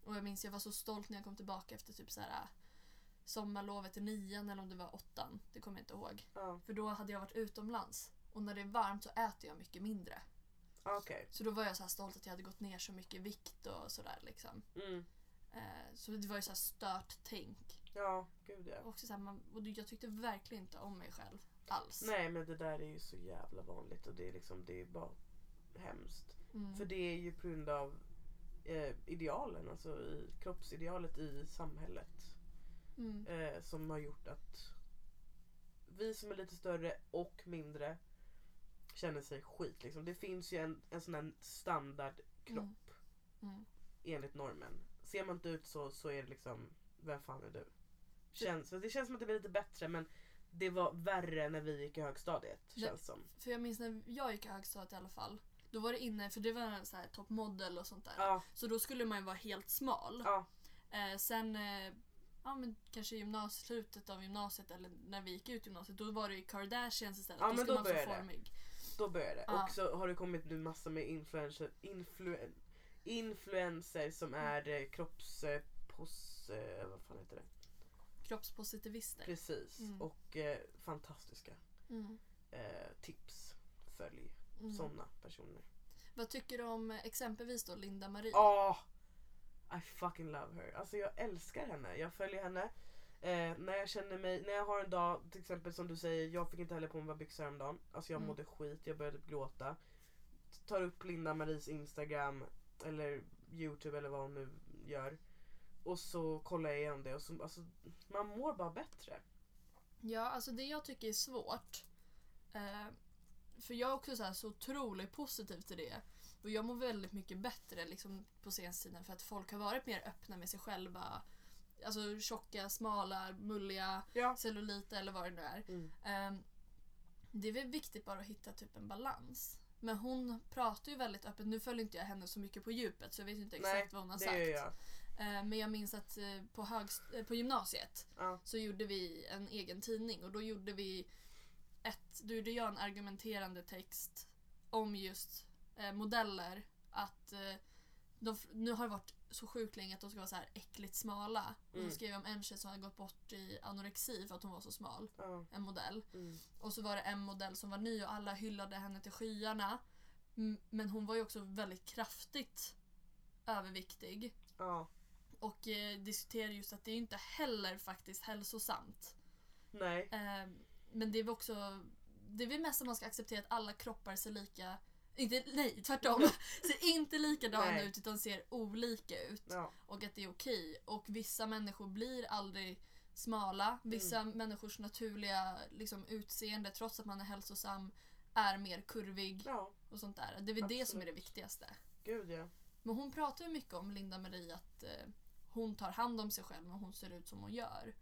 Och jag minns jag var så stolt när jag kom tillbaka efter typ så här sommarlovet i nian eller om det var åttan. Det kommer jag inte ihåg.
Ja.
För då hade jag varit utomlands och när det är varmt så äter jag mycket mindre.
Okej.
Så då var jag så här stolt att jag hade gått ner så mycket i vikt och sådär liksom.
Mm.
Eh, så det var ju så här stört tänk.
Ja, gud ja.
Och, också så här, man, och jag tyckte verkligen inte om mig själv alls.
Nej men det där är ju så jävla vanligt och det är liksom det är bara hemskt.
Mm.
För det är ju på grund av eh, idealen, alltså i, kroppsidealet i samhället
Mm.
eh, som har gjort att vi som är lite större och mindre känner sig skit. Liksom. Det finns ju en, en sån här standardkropp
Mm. Mm.
enligt normen. Ser man inte ut så, så är det liksom, vem fan är du? Känns, det känns som att det blir lite bättre men det var värre när vi gick i högstadiet
Det-
känns som.
För jag minns när jag gick i högstadiet i alla fall. Då var det inne, för det var en så här toppmodell och sånt där.
Ja,
Så då skulle man ju vara helt smal.
ja,
Eh, sen eh, ja, men kanske i gymnasiet, slutet av gymnasiet eller när vi gick ut gymnasiet, då var det ju Kardashians istället.
Ja,
då
men
skulle
då
man vara
började
så
det.
formig.
då börjar det.
Ja.
Och så har det kommit nu massa med influencer, influen, influencer som
Mm.
är eh, kropps... Eh, pos, eh, vad fan heter det?
Kroppspositivister.
Precis.
Mm.
Och eh, fantastiska
Mm.
eh, tips. Följ
Mm.
sådana personer.
Vad tycker du om eh, exempelvis då Linda Marie?
Ah, I fucking love her. Alltså jag älskar henne. Jag följer henne. Eh, när jag känner mig, när jag har en dag till exempel som du säger, jag fick inte heller på mig vad byxor häromdagen. Alltså jag
Mm.
mådde skit, jag började typ gråta. Tar upp Linda Maries Instagram eller Youtube eller vad hon nu gör. Och så kollar jag igenom det och så, alltså, man mår bara bättre.
Ja, alltså det jag tycker är svårt. Eh, för jag är också så, här, så otroligt positiv till det. Och jag mår väldigt mycket bättre liksom, på senaste tiden för att folk har varit mer öppna med sig själva. Alltså tjocka, smala, mulliga,
Ja.
celluliter eller vad det nu är.
Mm.
Ehm, det är väl viktigt bara att hitta typ en balans. Men hon pratar ju väldigt öppet. Nu följer inte jag henne så mycket på djupet så jag vet ju inte exakt
Nej,
vad hon har
Det
sagt.
gör jag.
Eh, Men jag minns att eh, på, högst- eh, på gymnasiet
Ja.
så gjorde vi en egen tidning och då gjorde vi ett, då gjorde jag en argumenterande text om just eh, modeller att eh, de, f- nu har det varit så sjukt länge att de ska vara så här äckligt smala. Och Hon
Mm.
skrev om en tjej som hade gått bort i anorexi för att hon var så smal,
Ja.
en modell.
Mm.
Och så var det en modell som var ny och alla hyllade henne till skyarna. M- Men hon var ju också väldigt kraftigt överviktig.
ja.
Och eh, diskuterar just att det är inte heller faktiskt hälsosamt.
Nej.
Eh, men det är väl också... Det är väl mest att man ska acceptera att alla kroppar ser lika... Inte, nej, tvärtom! ser inte likadana
Nej.
ut utan ser olika ut.
Ja.
Och att det är okej. Och vissa människor blir aldrig smala. Vissa
Mm.
människors naturliga liksom, utseende, trots att man är hälsosam, är mer kurvig
ja.
och sånt där. Det är väl det som är det
Absolut.
viktigaste.
Gud ja.
Men hon pratar ju mycket om Linda Marie att eh, hon tar hand om sig själv när hon ser ut som hon gör.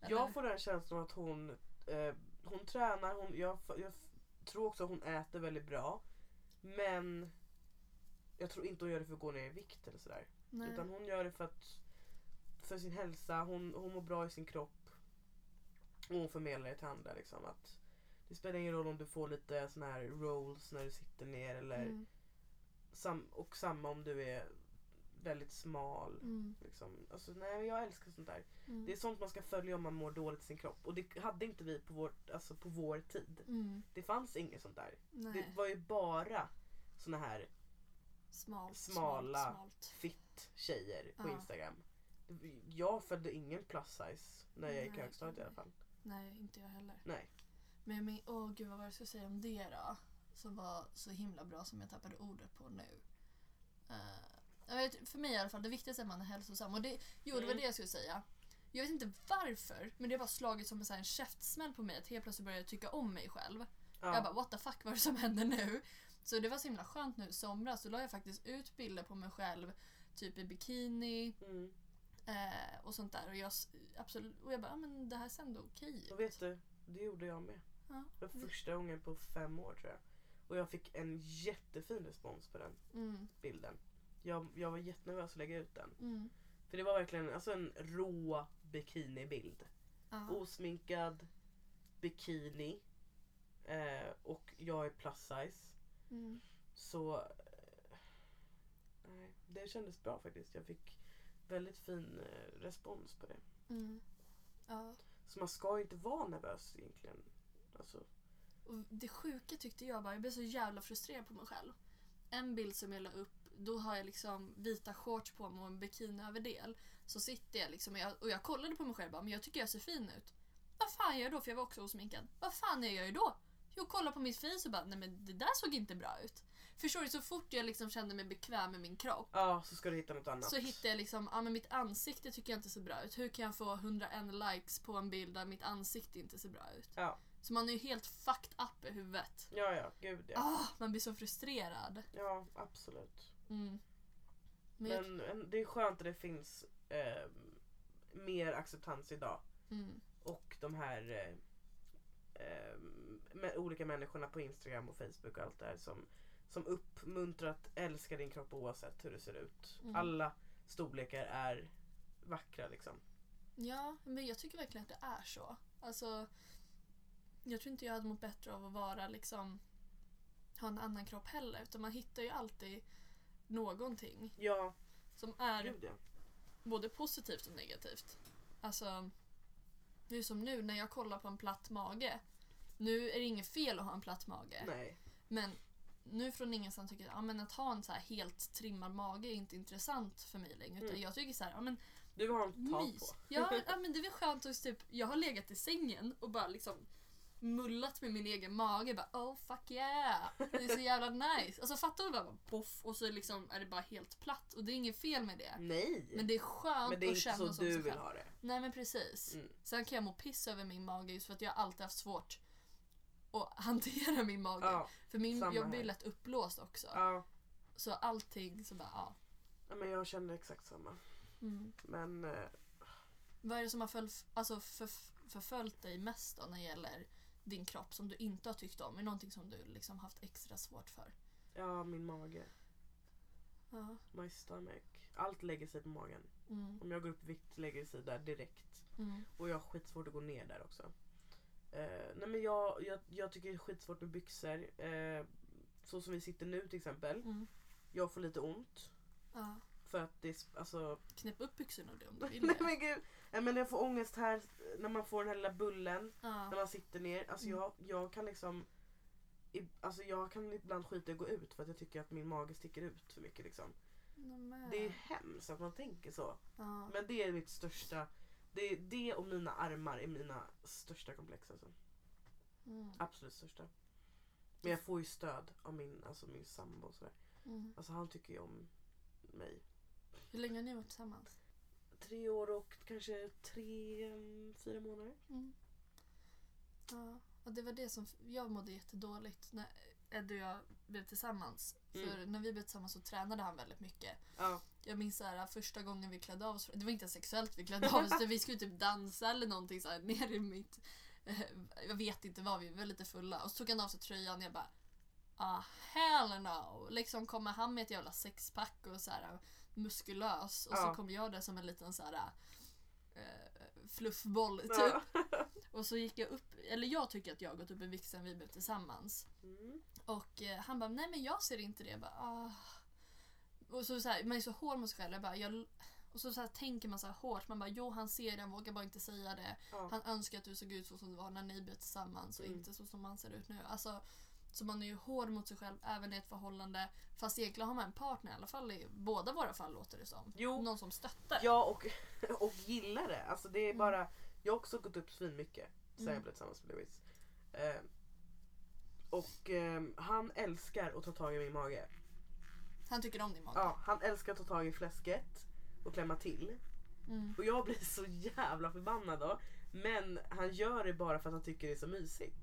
Eller?
Jag får den känslan att hon, eh, hon tränar, hon, jag, f- jag f- tror också att hon äter väldigt bra. Men jag tror inte hon gör det för att gå ner i vikt eller sådär.
Nej.
Utan hon gör det för att för sin hälsa, hon, hon mår bra i sin kropp. Och hon förmedlar det till andra liksom att det spelar ingen roll om du får lite sån här rolls när du sitter ner eller
Mm,
sam, och samma om du är väldigt smal.
mm,
Liksom. Alltså, nej, men jag älskar sånt där.
mm,
Det är sånt man ska följa om man mår dåligt i sin kropp. Och det hade inte vi på vår, alltså på vår tid.
mm,
Det fanns inget sånt där.
nej.
Det var ju bara såna här
smalt,
smala.
smalt, smalt.
fitt tjejer på
Ja.
Instagram. Jag följde ingen plus size när jag gick i
Nej,
högstadiet i alla
nej.
fall.
Nej, inte jag heller.
Nej.
Men jag men, åh gud vad var det jag skulle säga om det då? Som var så himla bra som jag tappade ordet på nu. Eh, jag vet, för mig i alla fall, det viktigaste är att man är hälsosam. Och det, jo, det var
Mm.
det jag skulle säga. Jag vet inte varför, men det har bara slagit som en, så här, en käftsmäll på mig att helt plötsligt började jag tycka om mig själv.
Ja.
Jag bara what the fuck vad är det som händer nu? Så det var så himla skönt nu i somras. Då la jag faktiskt ut bilder på mig själv. Typ i bikini
mm.
eh, och sånt där. Och jag, s- absolut, och jag bara, ah, men det här ser ändå okej
Och
ut.
vet du, det gjorde jag med.
Ja.
Det var första gången på fem år tror jag. Och jag fick en jättefin respons på den
Mm,
bilden. Jag, jag var jättenervös att lägga ut den.
mm,
För det var verkligen alltså en rå bikinibild.
ja.
osminkad bikini eh, och jag är plus size.
Mm.
Så eh, nej, det kändes bra faktiskt. Jag fick väldigt fin eh, respons på det.
Mm. Ja.
Så man ska inte vara nervös egentligen. Alltså,
Och det sjuka tyckte jag bara, jag blev så jävla frustrerad på mig själv. En bild som jag la upp, då har jag liksom vita shorts på mig och en bikiniöverdel. Så sitter jag liksom och jag, och jag kollade på mig själv bara, men jag tycker jag ser fin ut. Vad fan gör jag då? För jag var också osminkad. Vad fan gör jag ju då? Jo, kolla på mitt face och bara, nej men det där såg inte bra ut. förstår du, så fort jag liksom kände mig bekväm med min kropp
Ja, så ska du hitta något annat.
så hittade jag liksom, ja men mitt ansikte tycker jag inte ser bra ut. Hur kan jag få 101 likes på en bild där mitt ansikte inte ser bra ut?
Ja,
Så man är ju helt fucked up i huvudet.
ja, ja, gud ja.
Ah, man blir så frustrerad.
Ja, absolut.
Mm. Men, jag,
Men en- det är skönt att det finns eh, mer acceptans idag.
mm,
Och de här eh, eh, med olika människorna på Instagram och Facebook och allt det här som, som uppmuntrar att älska din kropp oavsett hur det ser ut.
Mm.
Alla storlekar är vackra liksom.
ja, men jag tycker verkligen att det är så. Alltså, jag tror inte jag hade mått bättre av att vara liksom, ha en annan kropp heller. Utan man hittar ju alltid någonting
Ja,
som är
gud ja.
både positivt och negativt. Alltså, det är som nu när jag kollar på en platt mage. Nu är det inget fel att ha en platt mage.
Nej.
Men nu från ingenstans tycker jag ah, men att ha en så här helt trimmad mage är inte intressant för mig längre. Utan
Mm.
jag tycker så här, ah, men
Du har en tag på.
mys. Ja, ja, men det är väl skönt att typ, jag har legat i sängen och bara liksom mullat med min egen mage. Bara, oh fuck yeah! Det är så jävla nice. Alltså fattar du bara boff och så liksom är det bara helt platt. Och det är inget fel med det.
Nej!
Men det är skönt
Men det är
att
inte
känna
så
som
du
sig
vill
själv.
ha det.
Nej men precis.
Mm.
Sen kan jag må piss över min mage just för att jag alltid haft svårt att hantera min mage.
Ja,
för min,
samma
jag blir
här.
lätt uppblåst också.
ja.
Så allting så bara ja.
ja, men jag känner exakt samma.
Mm.
Men eh,
Vad är det som har följ, alltså för, förföljt dig mest då när det gäller din kropp som du inte har tyckt om? Är det någonting som du liksom haft extra svårt för?
ja, min mage.
Ja.
My stomach. Allt lägger sig på magen.
Mm.
Om jag går upp i vikt lägger det sig där direkt.
Mm.
Och jag har skitsvårt att gå ner där också. Eh, nej men jag, jag, jag tycker det är skitsvårt med byxor. Eh, så som vi sitter nu till exempel.
Mm.
Jag får lite ont.
Ja.
För att det är sp- alltså...
Knäpp upp byxorna om du- om du vill
nej
det.
men gud! Nej men jag får ångest här när man får den här lilla bullen. När
Ja.
man sitter ner. Alltså
Mm.
jag, jag kan liksom... i- Alltså jag kan ibland skita i att gå ut för att jag tycker att min mage sticker ut för mycket liksom.
Nej, men.
Det är hemskt att man tänker så.
Ja.
Men det är mitt största... Det, det och mina armar är mina största komplex alltså.
Mm.
Absolut största. Men jag får ju stöd av min, alltså min sambo och sådär.
Mm.
Alltså han tycker ju om mig.
Hur länge har ni varit tillsammans?
Tre år och kanske tre, mm, fyra månader.
Mm. Ja, och det var det som... Jag mådde jättedåligt när Eddie och jag blev tillsammans. För
Mm.
när vi blev tillsammans så tränade han väldigt mycket.
Ja.
Jag minns så här, äh, första gången vi klädde av oss, det var inte ens sexuellt vi klädde av oss, utan vi skulle typ dansa eller någonting så här, ner i mitt... eh, Jag vet inte vad, vi var lite fulla. Och så tog han av sig tröjan och jag bara Ah, hell no! Liksom kommer han med ett jävla sexpack och så här äh, muskulös och
Ja.
så kommer jag där som en liten så här eh, fluffboll typ.
Ja.
Och så gick jag upp, eller jag tycker att jag har gått upp i vikt sen vi blev tillsammans.
Mm.
Och eh, han bara, nej men jag ser inte det. Jag bara, ah. Och så, så här, man är så hård mot sig själv. Jag bara, jag... Och så, så här, tänker man så här hårt. Man bara, jo han ser det, han vågar bara inte säga det.
Ja.
Han önskar att du såg ut så som du var när ni blev tillsammans och
Mm.
inte så som han ser ut nu. Alltså, så man är ju hård mot sig själv även i ett förhållande. Fast egentligen har man en partner i alla fall i båda våra fall låter det som.
Jo,
Någon som stöttar.
ja och, och gillar det. Alltså det är bara, jag har också gått upp svinmycket sen
Mm.
jag blev tillsammans med Louis. Eh, och eh, han älskar att ta tag i min mage.
Han tycker om din mage.
Ja, han älskar att ta tag i fläsket och klämma till.
Mm.
Och jag blir så jävla förbannad då. Men han gör det bara för att han tycker det är så mysigt.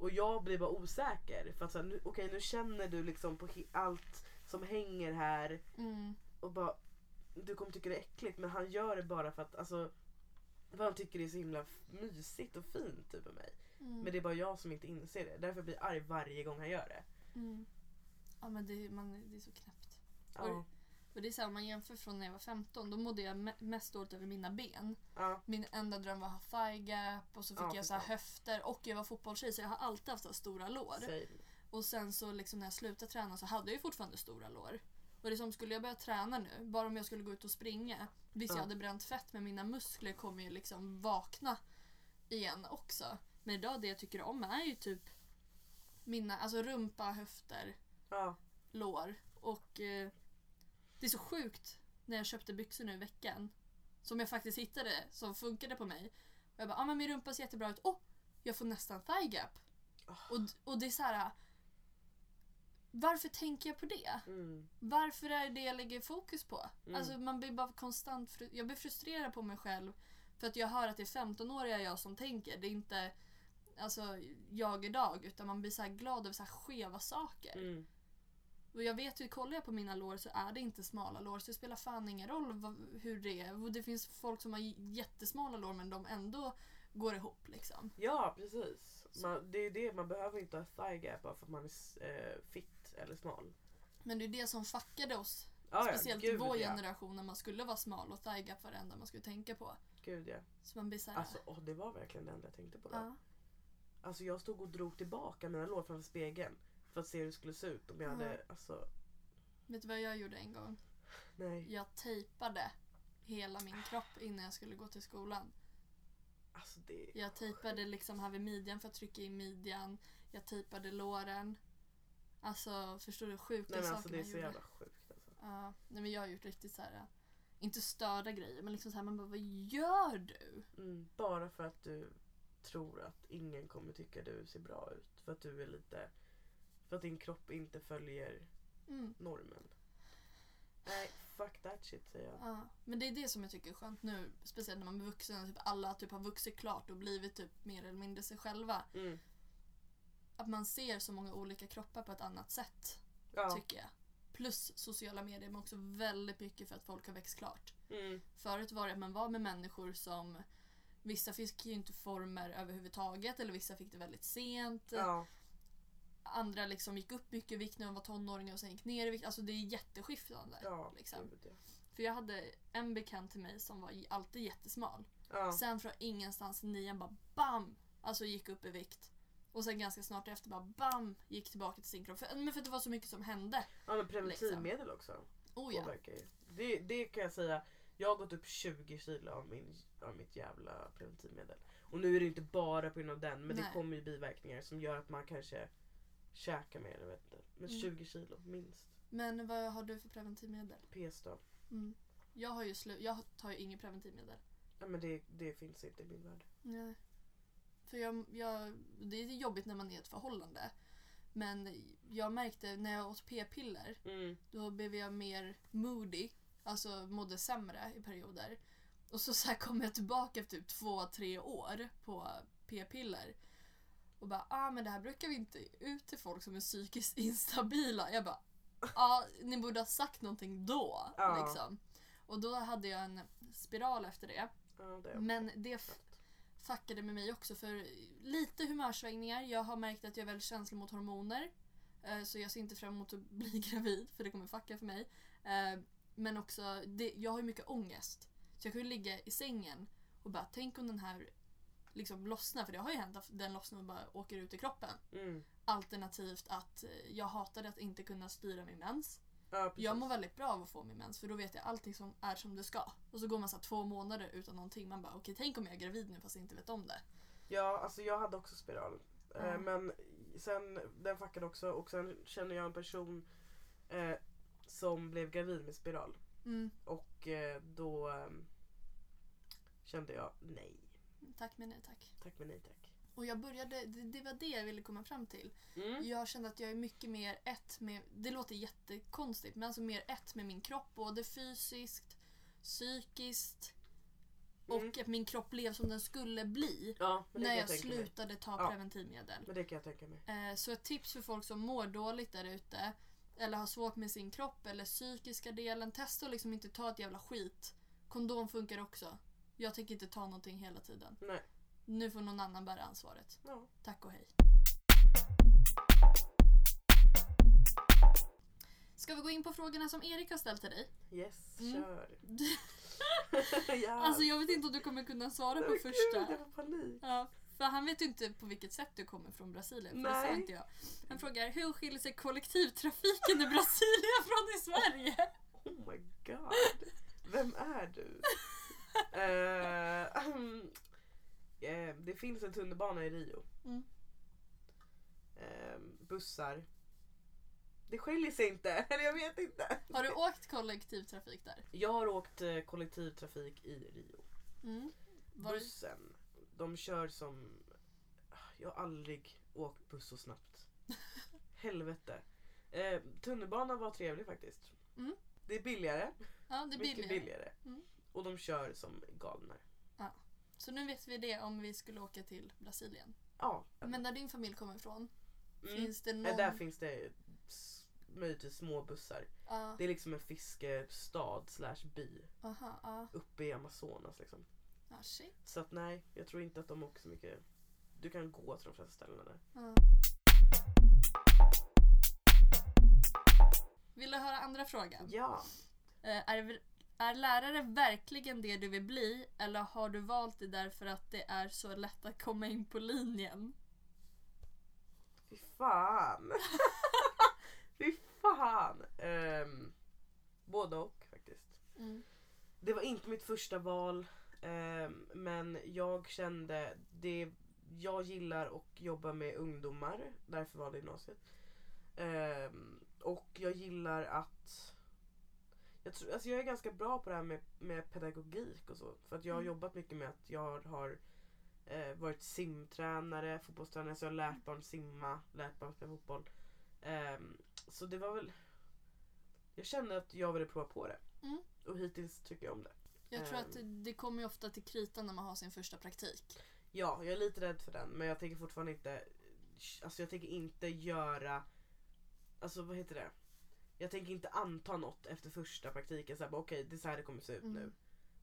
Och jag blir bara osäker. För att så här, nu, okej nu känner du liksom på he- allt som hänger här
Mm.
och bara du kommer tycka det är äckligt men han gör det bara för att alltså för han tycker det är så himla f- mysigt och fint typ av mig.
Mm.
Men det är bara jag som inte inser det. Därför blir jag arg varje gång han gör det.
Mm. Ja men det, är- man, det är så knäppt.
Ja.
Och det är så här, om man jämför från när jag var 15, då mådde jag me- mest dåligt över mina ben.
Ja.
Min enda dröm var att ha thigh gap och så fick
Ja,
jag så här
förstår.
höfter och jag var fotbollstjej så jag har alltid haft så här stora lår.
säg.
Och sen så liksom när jag slutade träna så hade jag ju fortfarande stora lår. Och det är som skulle jag börja träna nu, bara om jag skulle gå ut och springa. Visst jag
Ja.
hade bränt fett men mina muskler kommer ju liksom vakna igen också. Men idag det jag tycker om är ju typ mina, alltså rumpa, höfter,
Ja.
lår. Och eh, det är så sjukt när jag köpte byxor nu i veckan. Som jag faktiskt hittade, som funkade på mig. Och jag bara, ah, men min rumpa ser jättebra ut. Åh, jag får nästan thigh gap.
Ah.
Och, och det är så här. varför tänker jag på det?
Mm.
Varför är det det jag lägger fokus på?
Mm.
Alltså man blir bara konstant fru- jag blir frustrerad på mig själv för att jag hör att det är 15-åriga jag som tänker. Det är inte alltså, jag idag utan man blir så här glad över så här skeva saker.
Mm.
Och jag vet ju, kollar jag på mina lår så är det inte smala lår så det spelar fan ingen roll vad, hur det är. Och det finns folk som har j- jättesmala lår men de ändå går ihop liksom.
Ja precis. Man, det är det, man behöver inte ha thigh gap bara för att man är s- eh, fit eller smal.
Men det är det som fuckade oss
Ja, ja,
Speciellt i
gud,
vår
ja.
generation när man skulle vara smal och thigh gap var det enda man skulle tänka på.
Gud ja.
Så man blir såhär...
Alltså åh, det var verkligen det enda jag tänkte på. Då.
ja.
Alltså jag stod och drog tillbaka mina lår framför spegeln. För att se hur det skulle se ut om jag
Mm.
hade, alltså
Vet du vad jag gjorde en gång?
nej.
Jag tejpade hela min kropp innan jag skulle gå till skolan.
Alltså det,
Jag tejpade liksom här vid midjan för att trycka in midjan. Jag tejpade låren. Alltså förstår du hur sjuka
nej, men
saker
alltså, det är
man
så
gjorde?
jävla sjukt alltså.
Ja. nej men jag har gjort riktigt så här. inte störda grejer men liksom så här, man bara vad gör du?
Mm, bara för att du tror att ingen kommer tycka du ser bra ut. För att du är lite... För att din kropp inte följer
Mm.
normen. Nej, fuck that shit säger jag.
Ja, men det är det som jag tycker är skönt nu, speciellt när man är vuxen, typ alla typ har vuxit klart och blivit typ mer eller mindre sig själva.
Mm.
Att man ser så många olika kroppar på ett annat sätt,
Ja.
tycker jag. Plus sociala medier, men också väldigt mycket för att folk har växt klart.
Mm.
Förut var det att man var med människor som Vissa fick ju inte former överhuvudtaget eller vissa fick det väldigt sent.
Ja.
Andra liksom gick upp mycket i vikt när de var tonåringar och sen gick ner i vikt. Alltså det är jätteskiftande.
Ja.
Liksom.
Gud, ja.
För jag hade en bekant till mig som var j- alltid jättesmal.
ja.
Sen från ingenstans i nian bara BAM! Alltså gick upp i vikt. Och sen ganska snart efter bara BAM! Gick tillbaka till sin kropp. För, men för att det var så mycket som hände.
ja men preventivmedel också.
Oh ja.
Påverkar ju. Det, det kan jag säga. Jag har gått upp 20 kilo av, min, av mitt jävla preventivmedel. Och nu är det inte bara på grund av den men det
Nej.
kommer ju biverkningar som gör att man kanske käkar mer. Jag vet inte. Men
Mm.
20 kilo minst.
Men vad har du för preventivmedel?
PS då?
Mm. Jag, har ju slu- jag tar ju inget preventivmedel.
Ja, men det, det finns inte i min värld.
Nej. För jag, jag, det är jobbigt när man är i ett förhållande. Men jag märkte när jag åt p-piller då blev jag mer moody, alltså mådde sämre i perioder. Och så, så här kom jag tillbaka efter typ två, tre år på p-piller. Och bara, ah men det här brukar vi inte ut till folk som är psykiskt instabila. Jag bara, ja ah, ni borde ha sagt någonting då.
Ja.
Liksom. Och då hade jag en spiral efter det.
Ja, det har jag
Men det f-
fattat.
fuckade med mig också för lite humörsvängningar. Jag har märkt att jag är väldigt känslig mot hormoner. eh, Så jag ser inte fram emot att bli gravid för det kommer fucka för mig. Eh, Men också, det, jag har ju mycket ångest. Så jag kan ju ligga i sängen och bara tänk om den här liksom lossnar. För det har ju hänt att den lossnar och bara åker ut i kroppen.
Mm.
Alternativt att eh, jag hatade att inte kunna styra min mens.
Ja, precis.
Jag mår väldigt bra av att få min mens för då vet jag allting som är som det ska. Och så går man så här två månader utan någonting. Man bara okej tänk om jag är gravid nu fast jag inte vet om det.
Ja, alltså jag hade också spiral. Eh,
Ja.
Men sen, den fuckade också och sen känner jag en person eh, som blev gravid med spiral.
Mm,
Och eh, då eh, kände jag nej.
tack men nej tack.
Tack men nej tack.
Och jag började, det, det var det jag ville komma fram till.
Mm.
Jag kände att jag är mycket mer ett med, det låter jättekonstigt, men alltså mer ett med min kropp. Både fysiskt, psykiskt och
Mm.
att min kropp blev som den skulle bli.
Ja, men det
När
kan
jag
jag tänka mig.
slutade ta
Ja.
preventivmedel.
Men det kan jag tänka mig.
Eh, Så ett tips för folk som mår dåligt där ute eller har svårt med sin kropp eller psykiska delen. Testa att liksom inte ta ett jävla skit. Kondom funkar också. Jag tänker inte ta någonting hela tiden.
Nej.
Nu får någon annan bära ansvaret.
Ja.
Tack och hej. Ska vi gå in på frågorna som Erik har ställt till dig?
Yes,
Mm.
kör.
Du-
ja.
Alltså jag vet inte om du kommer kunna svara på
Åh, Gud,
första.
jag får panik.
Ja, för han vet ju inte på vilket sätt du kommer från Brasilien. För det sa
Nej.
inte jag. Han frågar hur skiljer sig kollektivtrafiken i Brasilien från i Sverige?
Oh my god. Vem är du? Eh, eh, det finns en tunnelbana i Rio.
Mm.
Eh, bussar. Det skiljer sig inte. Eller jag vet inte.
Har du åkt kollektivtrafik där?
Jag har åkt eh, kollektivtrafik i Rio.
Mm. Var det-
Bussen. De kör som... Jag har aldrig åkt buss så snabbt. Helvete. Eh, tunnelbanan var trevlig faktiskt.
Mm.
Det är billigare.
Ja, det är
Mycket
billigare.
billigare.
Mm.
Och de kör som galna.
Så nu vet vi det om vi skulle åka till Brasilien.
Ja.
Men där din familj kommer ifrån,
Mm.
finns det någon...
Eh, Där finns det ju s- möjligtvis små bussar.
Ja,
Det är liksom en fiskestad slash by
aha, ja.
uppe i Amazonas liksom.
Ah, shit.
Så att nej, jag tror inte att de åker så mycket. Du kan gå till de flesta ställena där.
Ja. Vill du höra andra frågan?
Ja.
Eh, är, är lärare verkligen det du vill bli eller har du valt det därför att det är så lätt att komma in på linjen?
Fy fan. Fy fan. Um, både och faktiskt.
Mm.
Det var inte mitt första val. ehm, men jag kände det jag gillar att jobba med ungdomar. Därför valde jag gymnasiet. Ehm, och jag gillar att... Jag, tror, alltså jag är ganska bra på det här med, med pedagogik och så. För att jag har
Mm.
jobbat mycket med att jag har eh, varit simtränare, fotbollstränare. Så jag har lärt barn simma, lärt barn spela fotboll. Ehm, så det var väl... Jag kände att jag ville prova på det.
Mm.
Och hittills tycker jag om det.
Jag tror att
Eh.
det kommer ju ofta till kritan när man har sin första praktik.
Ja, jag är lite rädd för den men jag tänker fortfarande inte Alltså jag tänker inte göra Alltså vad heter det? Jag tänker inte anta något efter första praktiken så här, bara, okej det är så här det kommer se ut
Mm.
nu.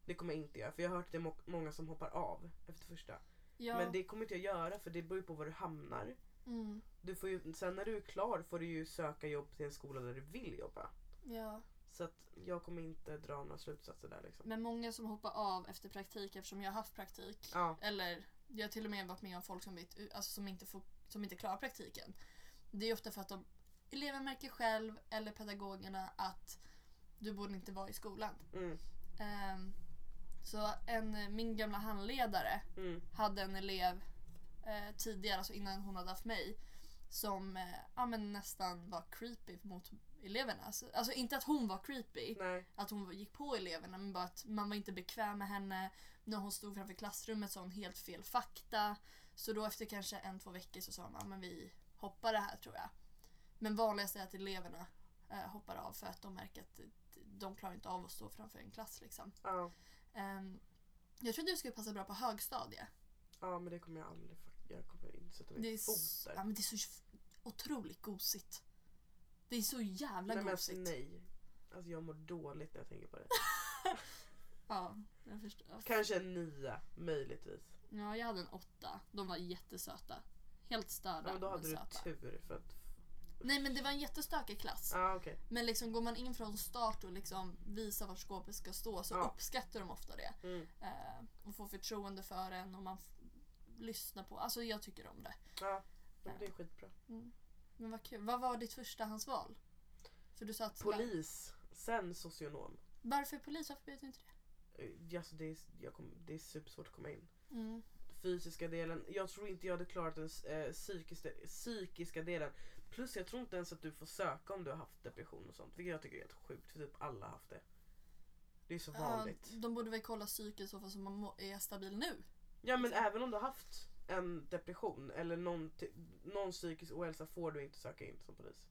Det kommer jag inte göra för jag har hört att det är må- många som hoppar av efter första.
Ja,
Men det kommer inte jag göra för det beror ju på var du hamnar.
mm,
Du får ju, sen när du är klar får du ju söka jobb till en skola där du vill jobba.
ja.
Så att jag kommer inte dra några slutsatser där liksom.
Men många som hoppar av efter praktik eftersom jag har haft praktik.
Ja,
Eller jag har till och med varit med om folk som, bytt, alltså, som, inte, får, som inte klarar praktiken. Det är ofta för att de, eleven märker själv eller pedagogerna att du borde inte vara i skolan.
mm,
Ehm, så en, min gamla handledare
mm,
hade en elev eh, tidigare, alltså innan hon hade haft mig, som eh, ja, men nästan var creepy mot eleverna. Alltså, alltså inte att hon var creepy,
nej,
att hon gick på eleverna, men bara att man var inte bekväm med henne. När hon stod framför klassrummet sa hon helt fel fakta. Så då efter kanske en, två veckor så sa hon att men vi hoppar det här tror jag. Men vanligast är att eleverna eh, hoppar av för att de märker att de klarar inte av att stå framför en klass. Liksom.
ja,
Ehm, jag tror du skulle passa bra på högstadiet.
ja men det kommer jag aldrig, fuck- jag kommer inte sätta
Det är,
min fot
s-
där.
ja, men det är så f- otroligt gosigt. Det är så jävla
Nej men alltså
gosigt.
nej. Alltså jag mår dåligt när jag tänker på det.
Ja, jag förstår.
Kanske en nia, möjligtvis.
Ja, jag hade en åtta. De var jättesöta. Helt störda.
Ja, men då hade du
söta.
tur för att...
Nej men det var en jättestökig klass.
Ja ah, okej.
Men liksom går man in från start och liksom visar var skåpet ska stå så
Ja.
uppskattar de ofta det.
Mm.
Eh, och får förtroende för en och man f- lyssnar på. Alltså jag tycker om det.
Ja, men det är skitbra.
Men vad kul. Vad var ditt förstahandsval? För du sa att...
Polis, sen socionom.
Varför polis? Varför blev du inte det?
Eh, Alltså det är, jag kom, det är supersvårt att komma in.
Mm.
Fysiska delen, jag tror inte jag hade klarat den eh, psykiska, psykiska delen. Plus jag tror inte ens att du får söka om du har haft depression och sånt. Vilket jag tycker är helt sjukt för typ alla har haft det. Det är så vanligt.
Ja, Eh, de borde väl kolla psyket så fall så man må- är stabil nu.
Ja men även om du har haft en depression eller någon, ty- någon psykisk ohälsa får du inte söka in som polis.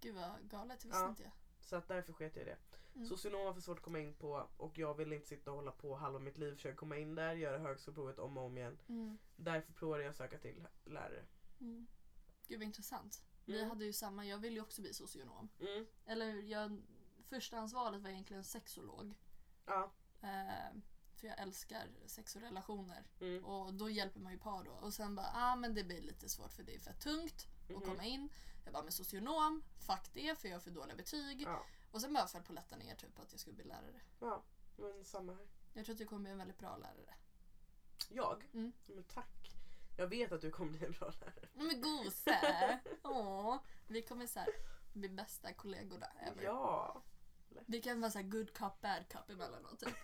Gud vad galet, det visste
Ja.
inte jag.
Så att därför sket jag i det.
Mm.
Socionom var för svårt att komma in på och jag ville inte sitta och hålla på halva mitt liv försöka komma in där, göra högskoleprovet om och om igen.
Mm.
Därför provade jag att söka till lärare.
Mm. Gud vad intressant. Vi
Mm.
hade ju samma, jag ville ju också bli socionom.
Mm.
Eller hur? jag, förstahandsvalet var egentligen sexolog.
Ja.
Eh, för jag älskar sex och relationer.
Mm.
Och då hjälper man ju par då. Och sen bara, ah men det blir lite svårt för det är för tungt
Mhm.
att komma in. Jag bara, men socionom, fuck det för jag har för dåliga betyg.
Ja.
Och sen bara föll polletten ner typ att jag skulle bli lärare.
ja, men samma här.
Jag tror att du kommer bli en väldigt bra lärare.
Jag?
Mm.
Men tack. Jag vet att du kommer bli en bra lärare.
Nej, Men gose! Åh, vi kommer så här bli bästa kollegorna ever.
Ja.
Vi kan vara så här good cop, bad cop emellanåt. Typ.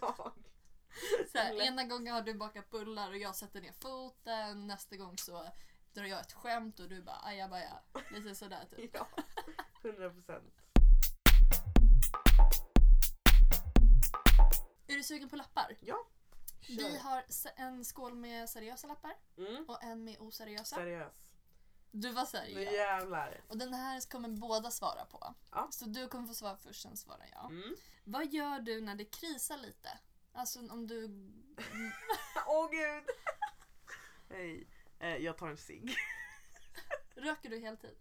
ja.
Så här,
Lätt.
ena gången har du bakat bullar och jag sätter ner foten. Nästa gång så drar jag ett skämt och du bara ajabaja. Lite sådär typ.
Ja. 100 procent.
Är du sugen på lappar? Vi
Kör.
har se- en skål med seriösa lappar
Mm.
och en med oseriösa.
Seriös.
Du var såhär
Nu
ja.
jävlar.
Och den här kommer båda svara på.
Ja.
Så du kommer få svara först, sen svarar jag.
Mm.
Vad gör du när det krisar lite? Alltså om du...
Åh gud. Hej. Eh, jag tar en cigg.
Röker du heltid?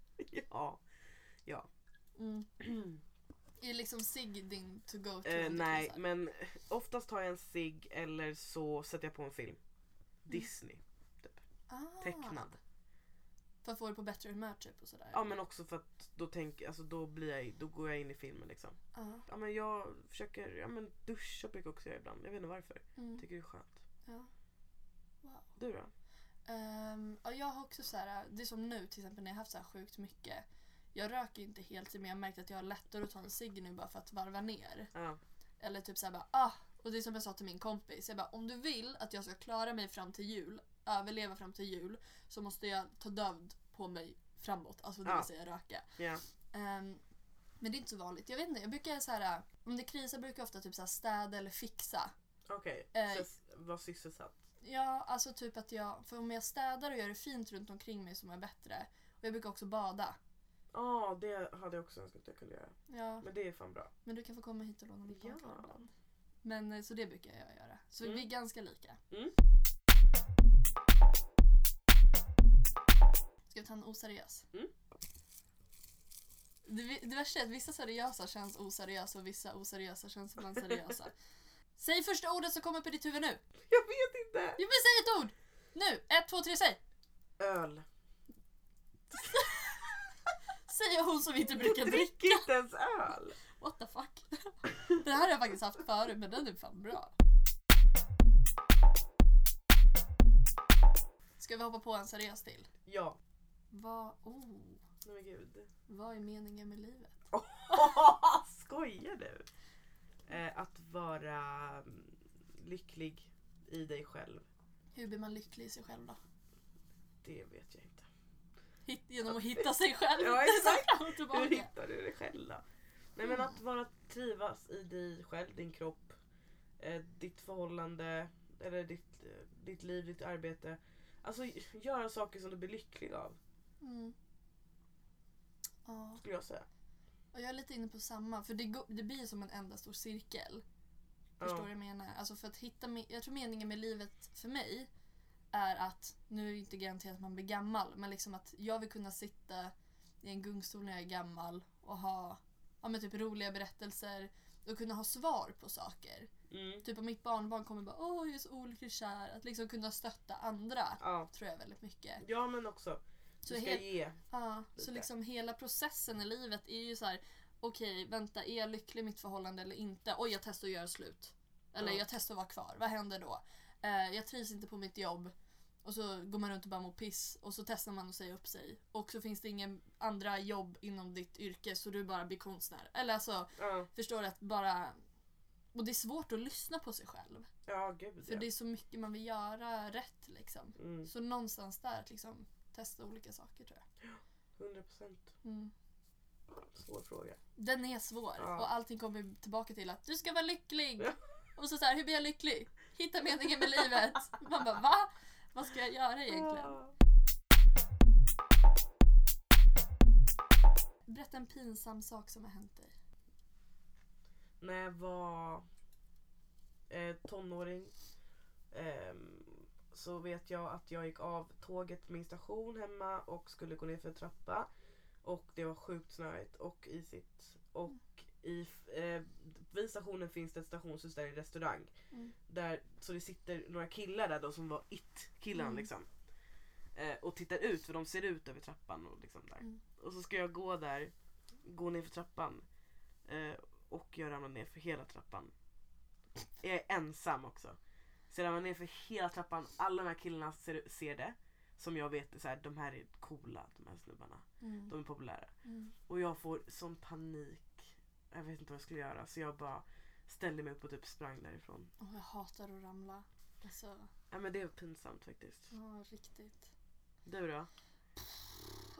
ja.
Mm. Är liksom cigg din to go to?
Eh,
om det
nej,
krisar?
men oftast tar jag en cigg eller så sätter jag på en film. Disney.
Mm. Ah,
Tecknad.
För att få dig på bättre humör typ och sådär?
Ja men också för att då tänker, alltså då blir jag, då går jag in i filmen liksom.
Ja,
Ja men jag försöker, ja men duscha brukar jag också göra ibland. Jag vet inte varför.
mm.
Tycker det är skönt.
Ja. Wow.
Du då?
Ehm, ja, jag har också så här, det är som nu till exempel när jag har haft så här sjukt mycket. Jag röker inte helt men jag har märkt att jag har lättare att ta en cigg nu bara för att varva ner.
Ja.
Eller typ såhär bara ah! Och det är som jag sa till min kompis, jag bara om du vill att jag ska klara mig fram till jul, överleva fram till jul, så måste jag ta död på mig framåt, alltså det
Ja.
vill säga röka.
Ja.
Ehm, men det är inte så vanligt. Jag vet inte, jag brukar så här, om det krisar brukar jag ofta typ så här städa eller fixa.
Okej.
Eh.
Så s- Var sysselsatt.
Ja, alltså typ att jag, för om jag städar och gör det fint runt omkring mig som är bättre. Och jag brukar också bada.
Ja det hade jag också önskat att jag kunde göra.
Ja,
Men det är fan bra.
men du kan få komma hit och låna mitt
Ja.
badkar ibland. Men eh, så det brukar jag göra. Så
Mm.
vi är ganska lika.
Mm.
Ska vi ta en oseriös?
Mm.
Det, vi- det värsta är att vissa seriösa känns oseriösa och vissa oseriösa känns som man seriösa. Säg första ordet som kommer upp i ditt huvud nu!
Jag vet inte!
Jo men säg ett ord! Nu! Ett, två, tre, säg!
Öl.
Säger hon som inte brukar
Jag
dricka.
dricker inte ens öl!
What the fuck? Det här har jag faktiskt haft förut men den är fan bra. Ska vi hoppa på en seriös till?
Ja.
Vad, oh,
Nej men gud.
vad är meningen med livet?
Skojar du? Eh, att vara mm, lycklig i dig själv.
Hur blir man lycklig i sig själv då?
Det vet jag inte.
Hit, genom att hitta sig själv?
Ja, exakt.
Fram och
Hur
tillbaka.
hittar du dig själv då? Nej men att vara trivas i dig själv, din kropp, eh, ditt förhållande, eller ditt, eh, ditt liv, ditt arbete. Alltså göra saker som du blir lycklig av,
Mm. Ja,
skulle jag säga.
och jag är lite inne på samma för det, går, det blir som en enda stor cirkel. Förstår du vad jag menar? Alltså för att hitta, me- jag tror meningen med livet för mig är att, nu är det inte garanterat att man blir gammal, men liksom att jag vill kunna sitta i en gungstol när jag är gammal och ha ja, men typ roliga berättelser och kunna ha svar på saker.
Ja. Mm.
Typ om mitt barnbarn kommer bara åh jag är så olyckligt kär. Att liksom kunna stötta andra
Ja.
tror jag väldigt mycket.
ja men också, du
Så
ska
helt-
ge.
Ja, så
Lite.
liksom hela processen i livet är ju så här: okej vänta är jag lycklig i mitt förhållande eller inte? Oj jag testar att göra slut. Eller
Ja.
jag testar att vara kvar, vad händer då? Eh, jag trivs inte på mitt jobb. Och så går man runt och bara mår piss och så testar man att säga upp sig. Och så finns det ingen andra jobb inom ditt yrke så du bara blir konstnär. Eller alltså,
Ja,
förstår du att bara... Och det är svårt att lyssna på sig själv.
ja gud
För
ja.
det är så mycket man vill göra rätt liksom.
Mm.
Så någonstans där att liksom testa olika saker tror jag.
100%
Mm.
svår fråga.
Den är svår
Ja.
och allting kommer tillbaka till att du ska vara lycklig.
Ja.
Och så, så här, hur blir jag lycklig? Hitta meningen med livet. Man bara va? Vad ska jag göra egentligen?
Ja.
Berätta en pinsam sak som har hänt dig.
när jag var eh, tonåring ehm, så vet jag att jag gick av tåget på min station hemma och skulle gå ner för en trappa. Och det var sjukt snöigt och isigt. Och i, f- eh, vid stationen finns det ett stationshus där det är restaurang.
Mm.
Där, så det sitter några killar där då som var it-killarna
Mm.
liksom. Eh, och tittar ut för de ser ut över trappan och liksom där.
Mm.
Och så ska jag gå där, gå ner för trappan. Eh, och jag ramlade ner för hela trappan. Jag är ensam också. Så jag ramlade ner för hela trappan. Alla de här killarna ser, ser det. Som jag vet är så här, de här är coola, de här snubbarna.
Mm.
De är populära.
Mm.
Och jag får sån panik. Jag vet inte vad jag skulle göra. Så jag bara ställde mig upp och typ sprang därifrån.
Åh, jag hatar att ramla. Alltså,
Ja men det är pinsamt faktiskt.
ja, riktigt.
Du då?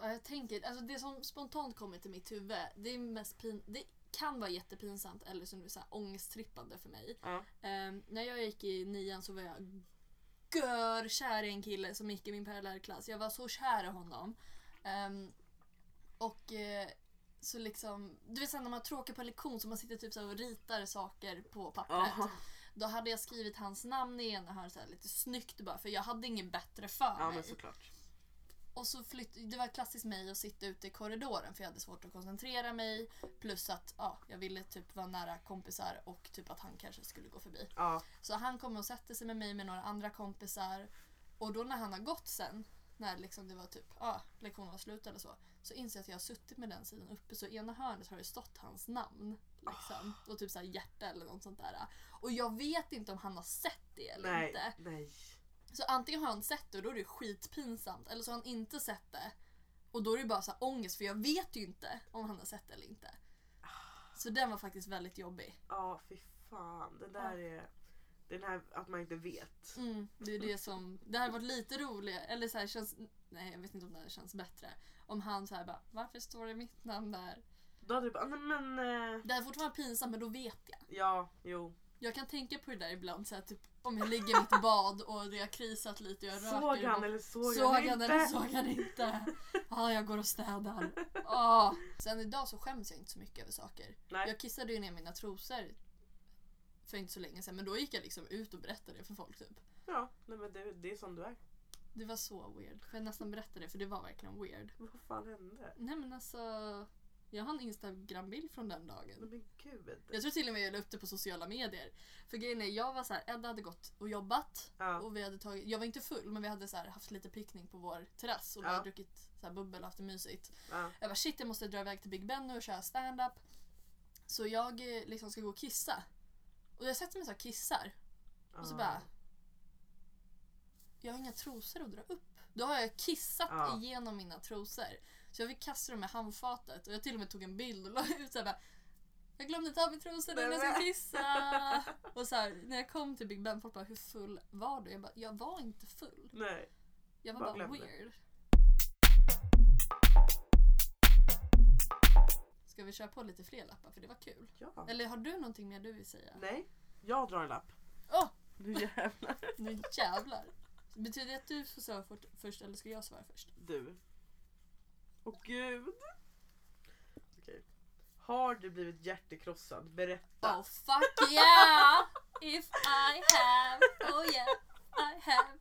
Ja, jag tänker, alltså det som spontant kommer till mitt huvud, det är mest pin... Det kan vara jättepinsamt eller som du sa, ångesttrippande för mig.
Ja.
Ehm, när jag gick i nian så var jag görkär i en kille som gick i min parallellklass. Jag var så kär i honom. Ehm, Ehm, och eh, så liksom, du vet sen när man har tråkigt på en lektion så man sitter typ så här och ritar saker på pappret.
Ja,
Då hade jag skrivit hans namn i ena hörnet så här lite snyggt bara för jag hade inget bättre för
ja
mig.
men såklart.
Och så flytt, det var klassiskt mig att sitta ute i korridoren för jag hade svårt att koncentrera mig. Plus att ja, jag ville typ vara nära kompisar och typ att han kanske skulle gå förbi.
Ja,
Så han kommer och sätter sig med mig med några andra kompisar. Och då när han har gått sen, när liksom det var typ, ja, lektionen var slut eller så. Så inser jag att jag har suttit med den sidan uppe så i ena hörnet har det stått hans namn. Liksom. Och typ så här hjärta eller något sånt där. Och jag vet inte om han har sett det eller
nej,
inte.
nej.
Så antingen har han sett det och då är det ju skitpinsamt. Eller så har han inte sett det. Och då är det ju bara så här ångest för jag vet ju inte om han har sett det eller inte. Så den var faktiskt väldigt jobbig.
Ja, fy fan. Det där är... Den här att man inte vet.
Mm, det är det som... Det hade varit lite roligare, eller så här känns... Nej jag vet inte om det här känns bättre. Om han så här bara, varför står det mitt namn där?
Då hade du bara, "Ah, nej men... eh,
Det är fortfarande pinsamt men då vet jag.
Ja, jo.
Jag kan tänka på det där ibland så här, typ om jag ligger i mitt bad och det har krisat lite och jag röker.
Såg
ibland.
han eller såg,
Såg
han
han
inte?
eller såg han inte? Ja, ah, jag går och städar. Ah. Sen idag så skäms jag inte så mycket över saker.
Nej.
Jag kissade ju ner mina trosor för inte så länge sedan men då gick jag liksom ut och berättade det för folk typ.
Ja, nej men det, det är som du är.
Det var så weird. För jag nästan berättade det för det var verkligen weird.
Vad fan hände?
Nej men alltså, jag har en Instagram-bild från den
Nej
dagen.
men gud.
Jag tror till och med jag la upp det på sociala medier. För grejen är, jag var så här, Edda hade gått och jobbat
Ja,
Och vi hade tagit, jag var inte full men vi hade så här haft lite picknick på vår terrass och vi
Ja.
hade druckit så här bubbel och haft det mysigt.
ja,
Jag bara shit jag måste dra iväg till Big Ben nu och köra stand-up. Så jag eh, liksom ska gå och kissa. Och jag sätter mig så här och kissar.
ja.
Och så bara... Jag har inga trosor att dra upp. Då har jag kissat
Ja.
igenom mina trosor. Så jag fick kasta dem med handfatet och jag till och med tog en bild och la ut såhär bara jag glömde ta av mig trosorna när jag ska kissa. Och så här, när jag kom till Big Ben, folk bara hur full var du? Jag bara, jag var inte full.
Nej.
Jag var
Bara
bara
glömde.
weird. Ska vi köra på lite fler lappar för det var kul?
Ja.
Eller har du någonting mer du vill säga?
Nej. Jag drar en lapp.
Åh!
Du jävlar.
Nu jävlar! Betyder det att du får svara fort- först eller ska jag svara först?
Du. Åh gud. Okej. Har du blivit hjärtekrossad? Berätta.
Oh fuck yeah! If I have, oh yeah, I have.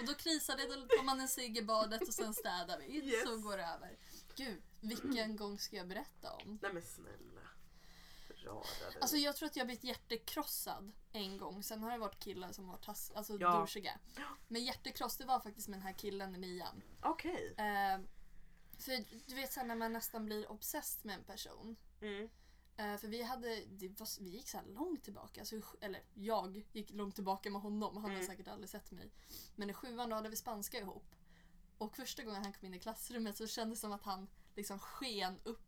Och då krisar det, då tar man en cigg i badet och sen städar vi.
Yes.
Så går det över. Gud, vilken gång ska jag berätta om?
Nej men snälla. Rara dig.
Alltså jag tror att jag har blivit hjärtekrossad en gång. Sen har det varit killar som har varit tass- alltså
Ja.
douchiga. Men hjärtekross det var faktiskt med den här killen i nian.
Okej.
Eh, för du vet sen när man nästan blir obsessed med en person.
Mm.
Eh, för vi, hade, det var, vi gick så här långt tillbaka, alltså, i sj- eller jag gick långt tillbaka med honom, han har
Mm.
säkert aldrig sett mig. Men i sjuan då hade vi spanska ihop. Och första gången han kom in i klassrummet så kändes det som att han liksom sken upp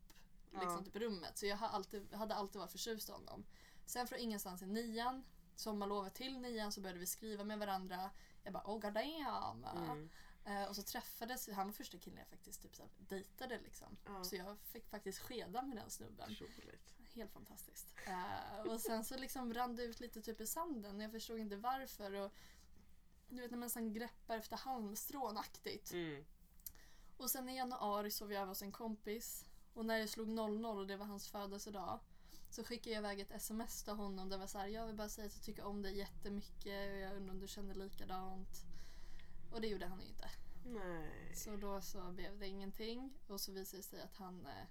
liksom,
Ja.
typ, rummet. Så jag har alltid, hade alltid varit förtjust i honom. Sen från ingenstans i nian, sommarlovet till nian så började vi skriva med varandra. Jag bara oh god damn.
Mm.
Eh, och så träffades vi, han var första killen jag faktiskt typ, så här, dejtade liksom.
Ja.
Så jag fick faktiskt skeda med den snubben.
Otroligt.
Helt fantastiskt. Eh, och sen så liksom rann det ut lite typ i sanden och jag förstod inte varför. Och, du vet när man sen greppar efter halmstrån aktigt.
Mm.
Och sen i januari sov jag över hos en kompis. Och när jag slog 00 och det var hans födelsedag. Så skickade jag iväg ett sms till honom där det var så här, jag vill bara säga att jag tycker om dig jättemycket och jag undrar om du känner likadant. Och det gjorde han ju inte.
Nej.
Så då så blev det ingenting och så visade det sig att han eh,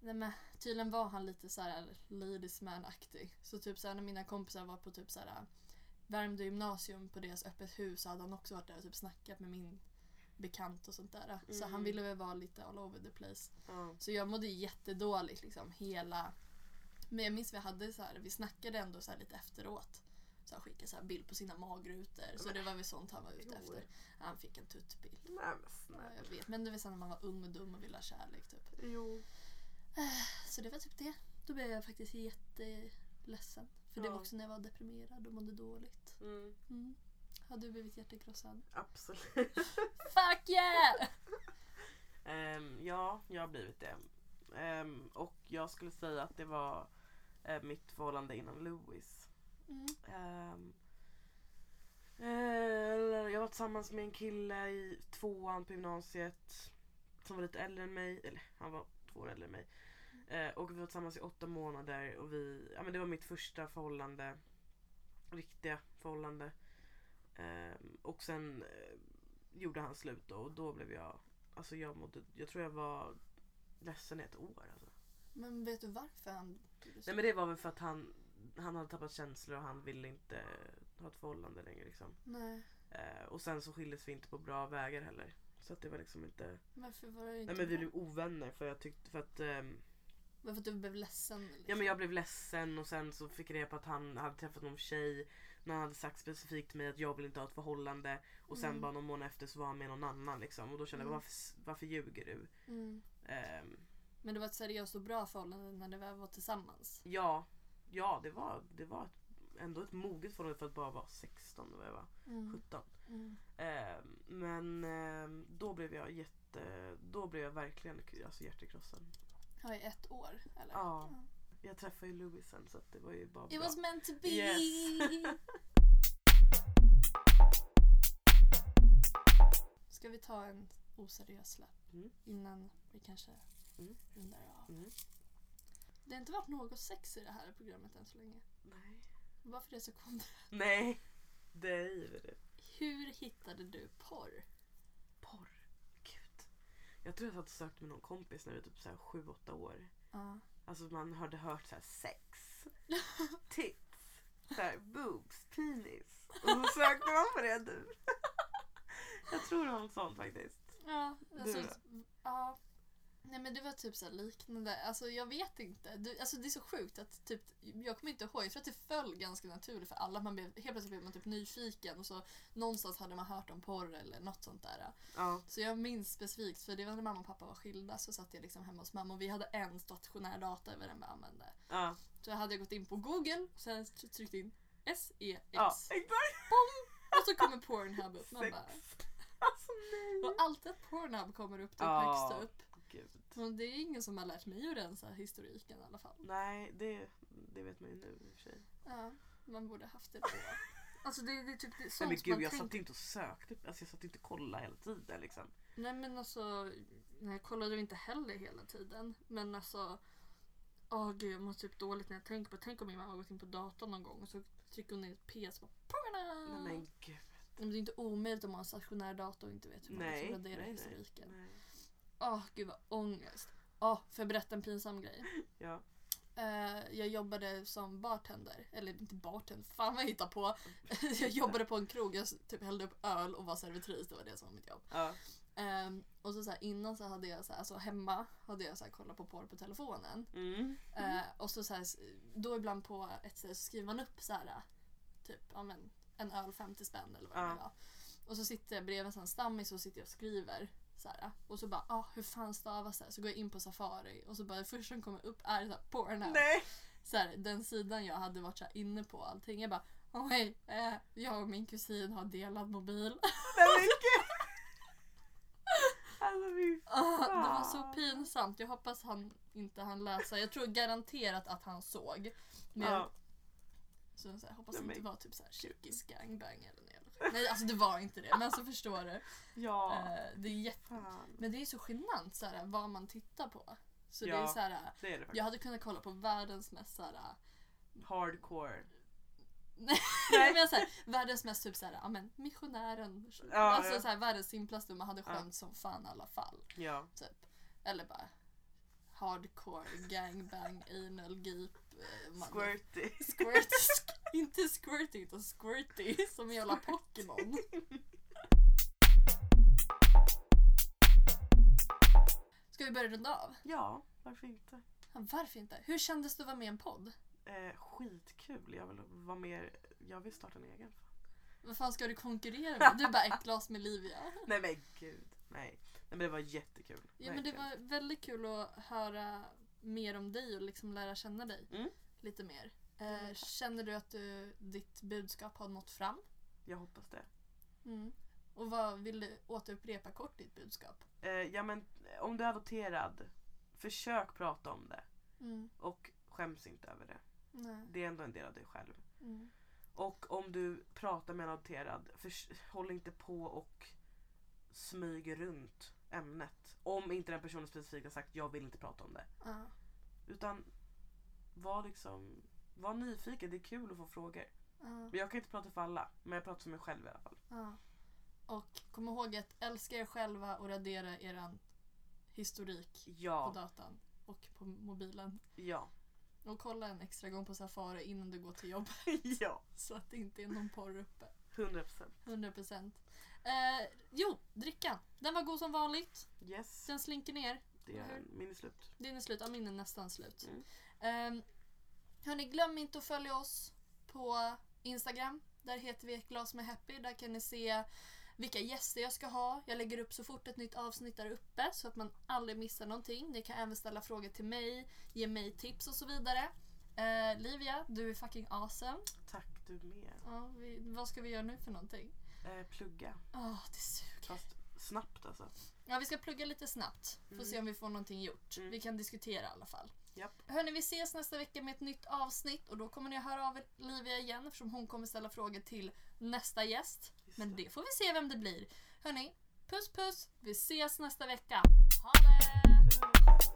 Nej men tydligen var han lite så här ladies man-aktig. Så typ såhär när mina kompisar var på typ såhär Värmdö gymnasium på deras öppet hus så hade han också varit där och typ snackat med min bekant och sånt där. Så
Mm.
han ville väl vara lite all over the place.
Ja.
Så jag mådde jättedåligt liksom hela Men jag minns vi hade så här, vi snackade ändå så här lite efteråt. Så han skickade så här bild på sina magrutor. Så det var väl sånt han var ute
Jo.
efter. Han fick en tuttbild.
Nej men
Ja,
snälla.
jag vet. Men det var sen när man var ung och dum och ville ha kärlek typ.
Jo.
Så det var typ det. Då blev jag faktiskt jätteledsen. För det
Ja.
var också när jag var deprimerad och mådde dåligt.
Mm.
Mm. Har du blivit hjärtekrossad?
Absolut.
Fuck yeah!
Ehm, ja, jag har blivit det. Ehm, och jag skulle säga att det var eh, mitt förhållande innan Louis.
Mm.
Ehm, eh, jag var tillsammans med en kille i tvåan på gymnasiet. som var lite äldre än mig, eller han var två år äldre än mig. Eh, och vi var tillsammans i åtta månader och vi, ja men det var mitt första förhållande, riktiga förhållande. Ehm, och sen eh, gjorde han slut då och då blev jag, alltså jag mådde, jag tror jag var ledsen i ett år alltså.
Men vet du varför han gjorde så?
Nej men det var väl för att han, han hade tappat känslor och han ville inte ha ett förhållande längre liksom.
Nej.
Eh, och sen så skildes vi inte på bra vägar heller. Så att det var liksom inte...
Varför var det inte
Nej men vi
bra?
blev ovänner för jag tyckte för att... ehm,
Varför att du blev ledsen? Liksom?
ja men jag blev ledsen och sen så fick jag reda på att han hade träffat någon tjej. När han hade sagt specifikt till mig att jag vill inte ha ett förhållande. Och sen
Mm.
bara någon månad efter så var han med någon annan liksom. Och då kände jag
Mm.
varför, varför ljuger du?
Mm.
Ehm,
Men det var ett seriöst och bra förhållande när ni väl var tillsammans.
ja, ja det var, det var ett, ändå ett moget förhållande för att bara vara 16 och jag var 17.
Mm.
Eh, men eh, då blev jag jätte... Då blev jag verkligen k- alltså, hjärtekrossen.
Ja, i ett år eller?
Ja. Jag träffade ju Louis sen så att det var ju bara
It
bra.
was meant to be!
Yes.
Ska vi ta en oseriös lapp
Mm.
innan vi kanske
Mm.
rundar av?
Mm.
Det har inte varit något sex i det här programmet än så länge.
Nej.
Varför det så konstigt?
Nej. Driver du?
Hur hittade du porr?
Porr. Gud. Jag tror jag satt och sökte med någon kompis när vi var typ så här 7-8 år.
Ja.
Alltså man hade hört så här sex, tits, så här, boobs, penis. Och så sökte man på det du. Jag tror det var något sånt faktiskt.
Ja, alltså,
då?
ja. Nej men det var typ så här liknande. Alltså jag vet inte. Du, alltså det är så sjukt att typ, jag kommer inte ihåg. Jag tror att det föll ganska naturligt för alla. Man blev, helt plötsligt blev man typ nyfiken och så någonstans hade man hört om porr eller något sånt där.
Ja.
Så jag minns specifikt, för det var när mamma och pappa var skilda så satt jag liksom hemma hos mamma och vi hade en stationär dator vi den vi använde.
Ja.
Så hade jag gått in på google och sen tryckt in SEX
Ja. Exakt.
och så kommer Pornhub upp. Man
Sex.
bara,
Alltså nej.
och alltid att Pornhub kommer upp typ
Ja.
högst upp.
Gud.
Men det är ingen som har lärt mig att rensa historiken i alla fall.
Nej, det, det vet man ju nu i och för sig.
Ja, man borde haft det då. Alltså det, det är typ det är
Nej,
sånt
men
man
gud, jag
tänker.
satt inte och sökte. Alltså, jag satt inte och kollade hela tiden. Liksom.
Nej men alltså, nej, jag kollade ju inte heller hela tiden. Men alltså, åh gud jag mår typ dåligt när jag tänker på Tänk om min mamma har gått in på datorn någon gång och så trycker hon ner ett PS och bara Porna!
Nej, men gud.
Nej, men det är inte omöjligt om man har en stationär dator och inte vet hur man
Nej.
liksom
nej,
raderar
nej,
historiken.
nej.
Åh gud vad ångest. Åh, får jag berätta en pinsam grej?
Ja.
Eh, jag jobbade som bartender, eller inte bartender, fan vad jag hittar på. jag jobbade på en krog, jag s- typ hällde upp öl och var servitris, det var det som var mitt jobb.
Ja.
Ehm, och så, så här, innan så hade jag, så här, alltså hemma, hade jag så här, kollat på porr på telefonen.
Mm.
Eh, och så, så här, s- då ibland på ett ställe så skriver man upp så här, typ ja, men, en öl 50 spänn eller vad det
Ja.
nu var. Och så sitter jag bredvid en sån stammis och sitter jag och skriver. Så här, och så bara, ah, hur fan stavas det? Så går jag in på Safari och så bara det första som kommer upp är så här, Pornhub
Nej.
så här, den sidan jag hade varit så här inne på och allting. Jag bara Åh hej, eh, jag och min kusin har delad mobil.
Nej, men gud. Alltså fy
Ah, det var så
fan.
pinsamt. Jag hoppas han inte han läsa. Jag tror garanterat att han såg. Men
Ja.
så jag så här, hoppas
Ah. Nej,
det
men
inte var typ så här tjeckisk gangbang eller något. jävla skit. Nej, alltså det var inte det. Men så förstår du.
Ja.
Eh, det är jätte...
Fan.
Men det är så genant så här, vad man tittar på. Så det
Ja.
är så här,
Det är det
jag
faktiskt.
hade kunnat kolla på världens mest så här,
Hardcore.
Nej. men så här, världens mest typ såhär, ja men missionären.
Ja,
alltså
ja.
såhär världens simplaste och man hade
Ja.
skämt som fan i alla fall.
Ja.
Typ. Eller bara hardcore gangbang anal geep. eh, man-
Squirty.
Squirt, sk- inte squirty utan squirty som en jävla Pokémon. Ska vi börja runda av?
Ja, varför inte?
Ja, Varför inte? Hur kändes det att vara med i en podd?
Eh, skitkul. Jag vill vara mer. Jag vill starta en egen.
Vad fan ska du konkurrera med? Du är bara ett glas med Livia.
Nej men gud. Nej. Nej men det var jättekul.
Ja, men det
Verkligen.
var väldigt kul att höra mer om dig och liksom lära känna dig
Mm.
lite mer.
Mm,
Eh,
tack.
känner du att du, ditt budskap har nått fram?
Jag hoppas det. Mm.
Och vad vill du återupprepa kort ditt budskap?
Eh, ja men om du är adopterad, försök prata om det. Och skäms inte över det.
Nej.
Det är ändå en del av dig själv. Mm. Och om du pratar med en adopterad, förs- håll inte på och smyger runt ämnet. Om inte den personen specifikt har sagt jag vill inte prata om det.
Ja.
Utan var liksom, var nyfiken, det är kul att få frågor.
ja,
Men jag kan inte prata för alla, men jag pratar för mig själv i alla fall.
ja. Och kom ihåg att älska er själva och radera er historik på
Ja,
datan och på mobilen.
ja,
Och kolla en extra gång på Safari innan du går till jobb
ja.
så att det inte är någon porr uppe.
100%.
100%. Eh, jo, drickan. Den var god som vanligt.
Yes,
Den slinker ner.
det
eller
är
hur?
min är slut.
Din är slut, ja min är nästan slut.
Mm.
Eh, hörni, glöm inte att följa oss på Instagram. Där heter vi ett glas med happy. Där kan ni se vilka gäster jag ska ha. Jag lägger upp så fort ett nytt avsnitt där uppe så att man aldrig missar någonting. Ni kan även ställa frågor till mig, ge mig tips och så vidare. Eh, Livia, du är fucking awesome.
Tack du med.
Ja, vi, vad ska vi göra nu för någonting?
Eh, plugga,
Åh, det suger.
fast snabbt alltså.
Ja, vi ska plugga lite snabbt. Får
Mm.
se om vi får någonting gjort.
Mm.
Vi kan diskutera i alla fall.
Japp.
Hörni, vi ses nästa vecka med ett nytt avsnitt och då kommer ni höra av er Livia igen eftersom hon kommer ställa frågor till nästa gäst.
Just
Men
det.
det får vi se vem det blir. Hörni, puss puss! Vi ses nästa vecka. Ha det!
Puss.